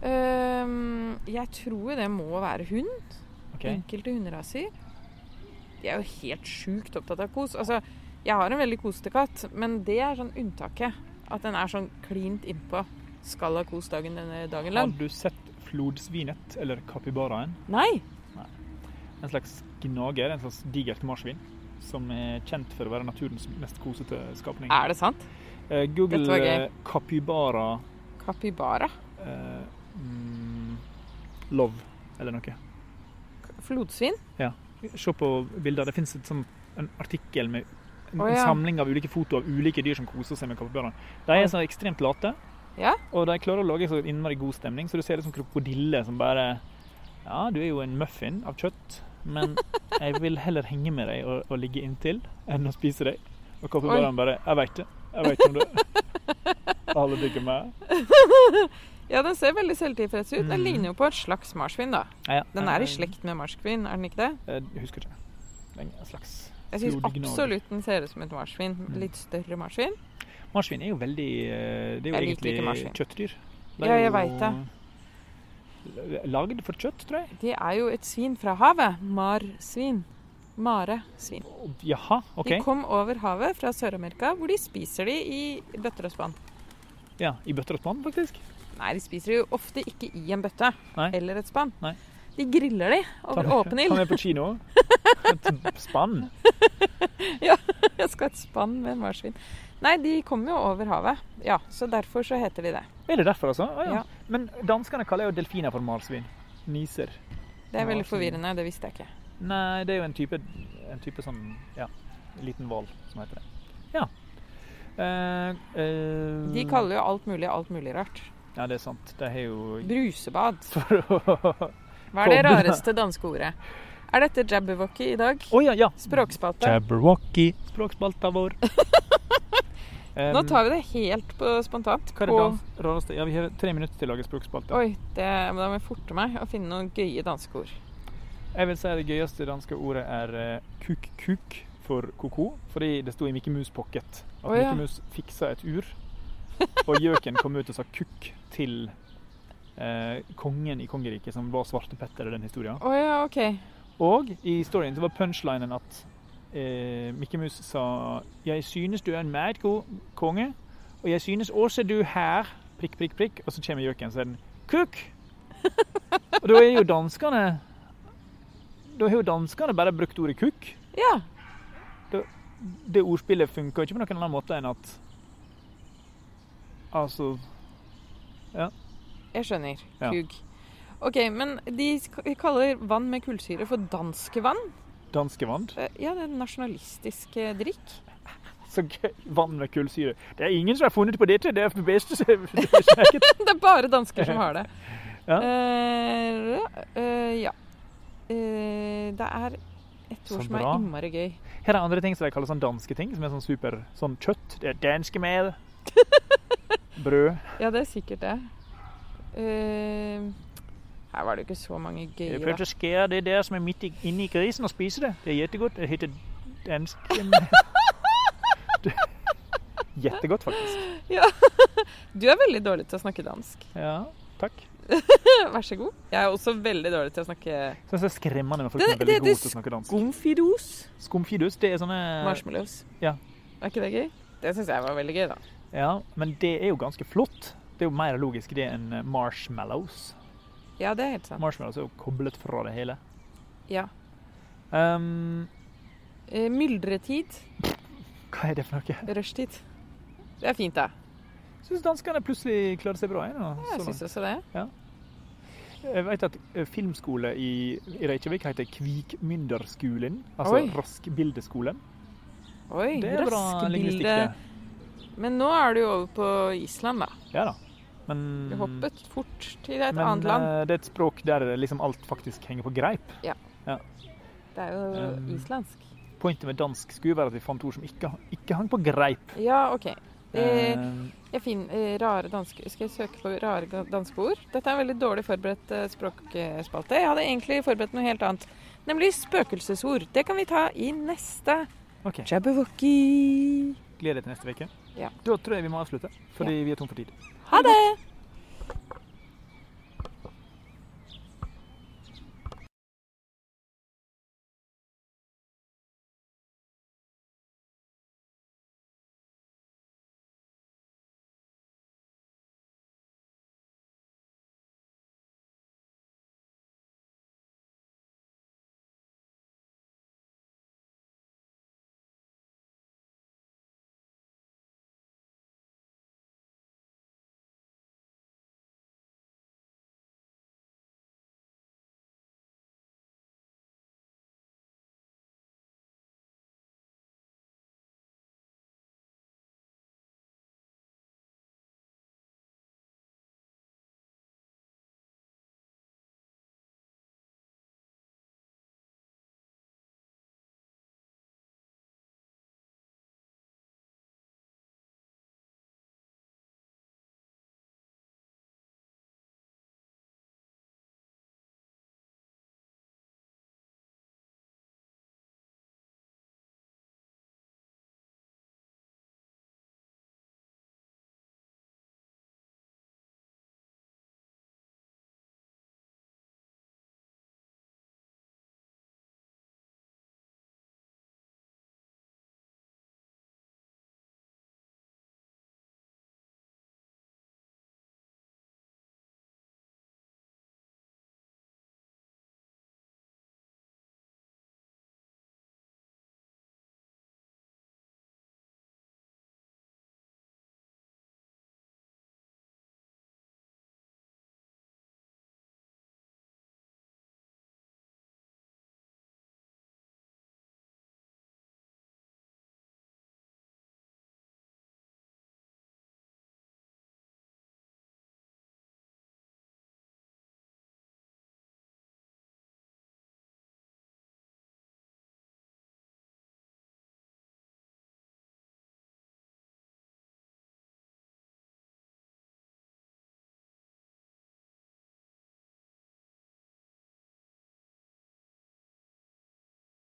[SPEAKER 1] Øhm, Ehm, jeg tror jo det må være hund.
[SPEAKER 2] Ok.
[SPEAKER 1] Enkelte hunderaser. De er jo helt sjukt opptatt av kos. Altså, jeg har en veldig kosete katt, men det er sånn unntaket. At den er sånn klint innpå. Skal ha kos dagen, denne dagen
[SPEAKER 2] Har
[SPEAKER 1] lang.
[SPEAKER 2] du sett flodsvinet, eller kapibaraen?
[SPEAKER 1] Nei!
[SPEAKER 2] En slags gnager, en slags digert marsvin. Som er kjent for å være naturens mest kosete skapning.
[SPEAKER 1] Er det sant?
[SPEAKER 2] Eh, Google
[SPEAKER 1] Dette var gøy.
[SPEAKER 2] eh, capybara
[SPEAKER 1] Kapibara.
[SPEAKER 2] eh, mm, love, eller noe.
[SPEAKER 1] Flodsvin.
[SPEAKER 2] Se på bilder. Det fins en artikkel med en,
[SPEAKER 1] Å,
[SPEAKER 2] en
[SPEAKER 1] ja.
[SPEAKER 2] samling av ulike foto av ulike dyr som koser seg med kapibaraen. De er så ekstremt late,
[SPEAKER 1] Ja.
[SPEAKER 2] og de klarer å lage så innmari god stemning. Så du ser liksom krokodiller som bare Ja, du er jo en muffin av kjøtt, men jeg vil heller henge med deg og, og ligge inntil enn å spise deg. Og kapibaraen bare Jeg veit det. Jeg veit ikke om det. Å, alle digger meg.
[SPEAKER 1] Ja, den ser veldig selvtilfreds ut. Den
[SPEAKER 2] Mhm.
[SPEAKER 1] ligner jo på et slags marsvin, da.
[SPEAKER 2] Ja, ja.
[SPEAKER 1] Den er
[SPEAKER 2] Eh,
[SPEAKER 1] i slekt med marsvin, er den ikke det?
[SPEAKER 2] eh, Jeg husker ikke. Den er en slags
[SPEAKER 1] Jeg syns
[SPEAKER 2] Flodgnager.
[SPEAKER 1] absolutt den ser ut som et marsvin.
[SPEAKER 2] Mm.
[SPEAKER 1] Litt større marsvin.
[SPEAKER 2] Marsvin er jo veldig eh, Det er jo
[SPEAKER 1] Jeg liker ikke
[SPEAKER 2] egentlig
[SPEAKER 1] marsvin.
[SPEAKER 2] kjøttdyr.
[SPEAKER 1] Ja, jeg vet
[SPEAKER 2] det. Lagd for kjøtt, tror jeg.
[SPEAKER 1] Det er jo et svin fra havet. Marsvin. Maresvin.
[SPEAKER 2] Jaha, OK.
[SPEAKER 1] De kom over havet fra Sør-Amerika, hvor de spiser de i bøtter og spann.
[SPEAKER 2] Ja, I bøtter og spann, faktisk.
[SPEAKER 1] Nei, de spiser de jo ofte ikke i en bøtte
[SPEAKER 2] Nei.
[SPEAKER 1] eller et spann.
[SPEAKER 2] Nei.
[SPEAKER 1] De griller de
[SPEAKER 2] Ta
[SPEAKER 1] over
[SPEAKER 2] med-
[SPEAKER 1] åpen ild.
[SPEAKER 2] Ta med på kino. Et spann.
[SPEAKER 1] Jeg skal ha et spann med en marsvin. Nei, de kommer jo over havet. Ja, så derfor så heter de det.
[SPEAKER 2] Er det derfor, altså? Å, ja.
[SPEAKER 1] Ja.
[SPEAKER 2] Men danskene kaller jo delfiner for marsvin. Niser.
[SPEAKER 1] Det er veldig
[SPEAKER 2] Marsvin.
[SPEAKER 1] forvirrende, det visste jeg ikke.
[SPEAKER 2] Nei, det er jo en type, en type sånn Ja, en liten hval som heter det. Ja. Eh, eh,
[SPEAKER 1] De kaller jo alt mulig alt mulig rart.
[SPEAKER 2] Ja, det er sant. De har jo
[SPEAKER 1] Brusebad.
[SPEAKER 2] Å
[SPEAKER 1] Hva er det
[SPEAKER 2] Kom.
[SPEAKER 1] rareste danske ordet? Er dette Jabberwocky i dag?
[SPEAKER 2] ja, ja.
[SPEAKER 1] Språkspalte.
[SPEAKER 2] Jabberwocky. Språkspalta vår. um,
[SPEAKER 1] Nå tar vi det helt på spontant.
[SPEAKER 2] Hva er det
[SPEAKER 1] på-
[SPEAKER 2] dans rareste? Ja, vi har tre minutter til å lage språkspalte.
[SPEAKER 1] Oi, det, men da må jeg forte meg å finne noen gøye danske ord.
[SPEAKER 2] Jeg vil si det gøyeste danske ordet er eh, kuk-kuk for ko-ko, fordi det sto i Mikke Mus' pocket at
[SPEAKER 1] Å, ja.
[SPEAKER 2] Mikke Mus fiksa et ur, og gjøken kom ut og sa kukk til eh, kongen i kongeriket, som var Svartepetter i den historien.
[SPEAKER 1] Å ja, OK.
[SPEAKER 2] Og i historien så var punchlinen at eh, Mikke Mus sa Jeg synes du er en meget god konge, og jeg synes også du her prikk, prikk, prikk, og så kommer gjøken og sier kukk. Og da er jo danskene Da har jo danskene bare brukt ordet kukk.
[SPEAKER 1] Ja.
[SPEAKER 2] Det ordspillet funker ikke på noen annen måte enn at Altså
[SPEAKER 1] Jeg skjønner.
[SPEAKER 2] Ja.
[SPEAKER 1] Kug. Ok, men de sk- kaller vann med kullsyre for danskevann.
[SPEAKER 2] danskevann.
[SPEAKER 1] Eh, Ja, det er en nasjonalistisk eh, drikk.
[SPEAKER 2] Så gøy. Vann med kullsyre. Det er ingen som har funnet på dette. Det er det beste som det er snakket.
[SPEAKER 1] Det er bare dansker som har det.
[SPEAKER 2] Ja.
[SPEAKER 1] Eh, eh, ja. Eh, det er et
[SPEAKER 2] Så
[SPEAKER 1] ord som er
[SPEAKER 2] bra.
[SPEAKER 1] innmari gøy.
[SPEAKER 2] Her er andre ting som de kaller sånn danske ting, som er sånn super sånn kjøtt. Det er danske mel. Brød.
[SPEAKER 1] Ja, det er sikkert det. Eh, her var det jo ikke så mange gøye. da.
[SPEAKER 2] Jeg prøvde å skjære det der som er midt i- inni grisen og spise det. Det er kjempegodt. Det heter danske mel. Kjempegodt, faktisk.
[SPEAKER 1] Du er veldig dårlig til å snakke dansk.
[SPEAKER 2] Ja, takk.
[SPEAKER 1] Vær så god. Jeg er også veldig dårlig til å snakke
[SPEAKER 2] Så det er skremmende når folk
[SPEAKER 1] Det-
[SPEAKER 2] er veldig
[SPEAKER 1] det- det
[SPEAKER 2] gode til å snakke dansk.
[SPEAKER 1] gomfidos.
[SPEAKER 2] Skumfidus, det er sånne
[SPEAKER 1] Marshmallows.
[SPEAKER 2] Eh, ja.
[SPEAKER 1] Er ikke det gøy? Det syns jeg var veldig gøy, da.
[SPEAKER 2] Ja, men det er jo ganske flott. Det er jo mer logisk det enn eh, marshmallows.
[SPEAKER 1] Ja, det er helt sant.
[SPEAKER 2] Marshmallows er jo koblet fra det hele.
[SPEAKER 1] Ja.
[SPEAKER 2] Ehm,
[SPEAKER 1] Eh, myldretid.
[SPEAKER 2] hva er det for noe?
[SPEAKER 1] Rushtid. Det er fint, da. Sånn.
[SPEAKER 2] Jeg syns danskene plutselig klarer seg bra. Jeg, nå,
[SPEAKER 1] Ja, Jeg
[SPEAKER 2] så langt.
[SPEAKER 1] syns også det.
[SPEAKER 2] jeg vet at eh, filmskole i i Reykjavik heter Kvikmynderskolen. Altså
[SPEAKER 1] Oi.
[SPEAKER 2] Raskbildeskolen.
[SPEAKER 1] Oi,
[SPEAKER 2] Det er bra lingvistikk,
[SPEAKER 1] raskbilde.
[SPEAKER 2] det.
[SPEAKER 1] Men nå er du jo over på Island, da.
[SPEAKER 2] Ja da. Men,
[SPEAKER 1] Du hoppet fort til et
[SPEAKER 2] Mm. men
[SPEAKER 1] annet land.
[SPEAKER 2] eh, det er et språk der liksom alt faktisk henger på greip.
[SPEAKER 1] Det er jo
[SPEAKER 2] um,
[SPEAKER 1] islandsk.
[SPEAKER 2] Pointet med dansk skulle være at vi fant ord som ikke, ikke hang på greip.
[SPEAKER 1] Ja, OK. Eh,
[SPEAKER 2] Ehm,
[SPEAKER 1] Jeg finner eh, rare danske Skal jeg søke på rare ga- danske ord? Dette er en veldig dårlig forberedt eh, språkspalte. Jeg hadde egentlig forberedt noe helt annet. Nemlig spøkelsesord. Det kan vi ta i neste
[SPEAKER 2] OK.
[SPEAKER 1] Jabberwocky.
[SPEAKER 2] Gleder deg til neste uke.
[SPEAKER 1] Ja.
[SPEAKER 2] Da tror jeg vi må avslutte, fordi vi er tom for tid.
[SPEAKER 1] Ha det!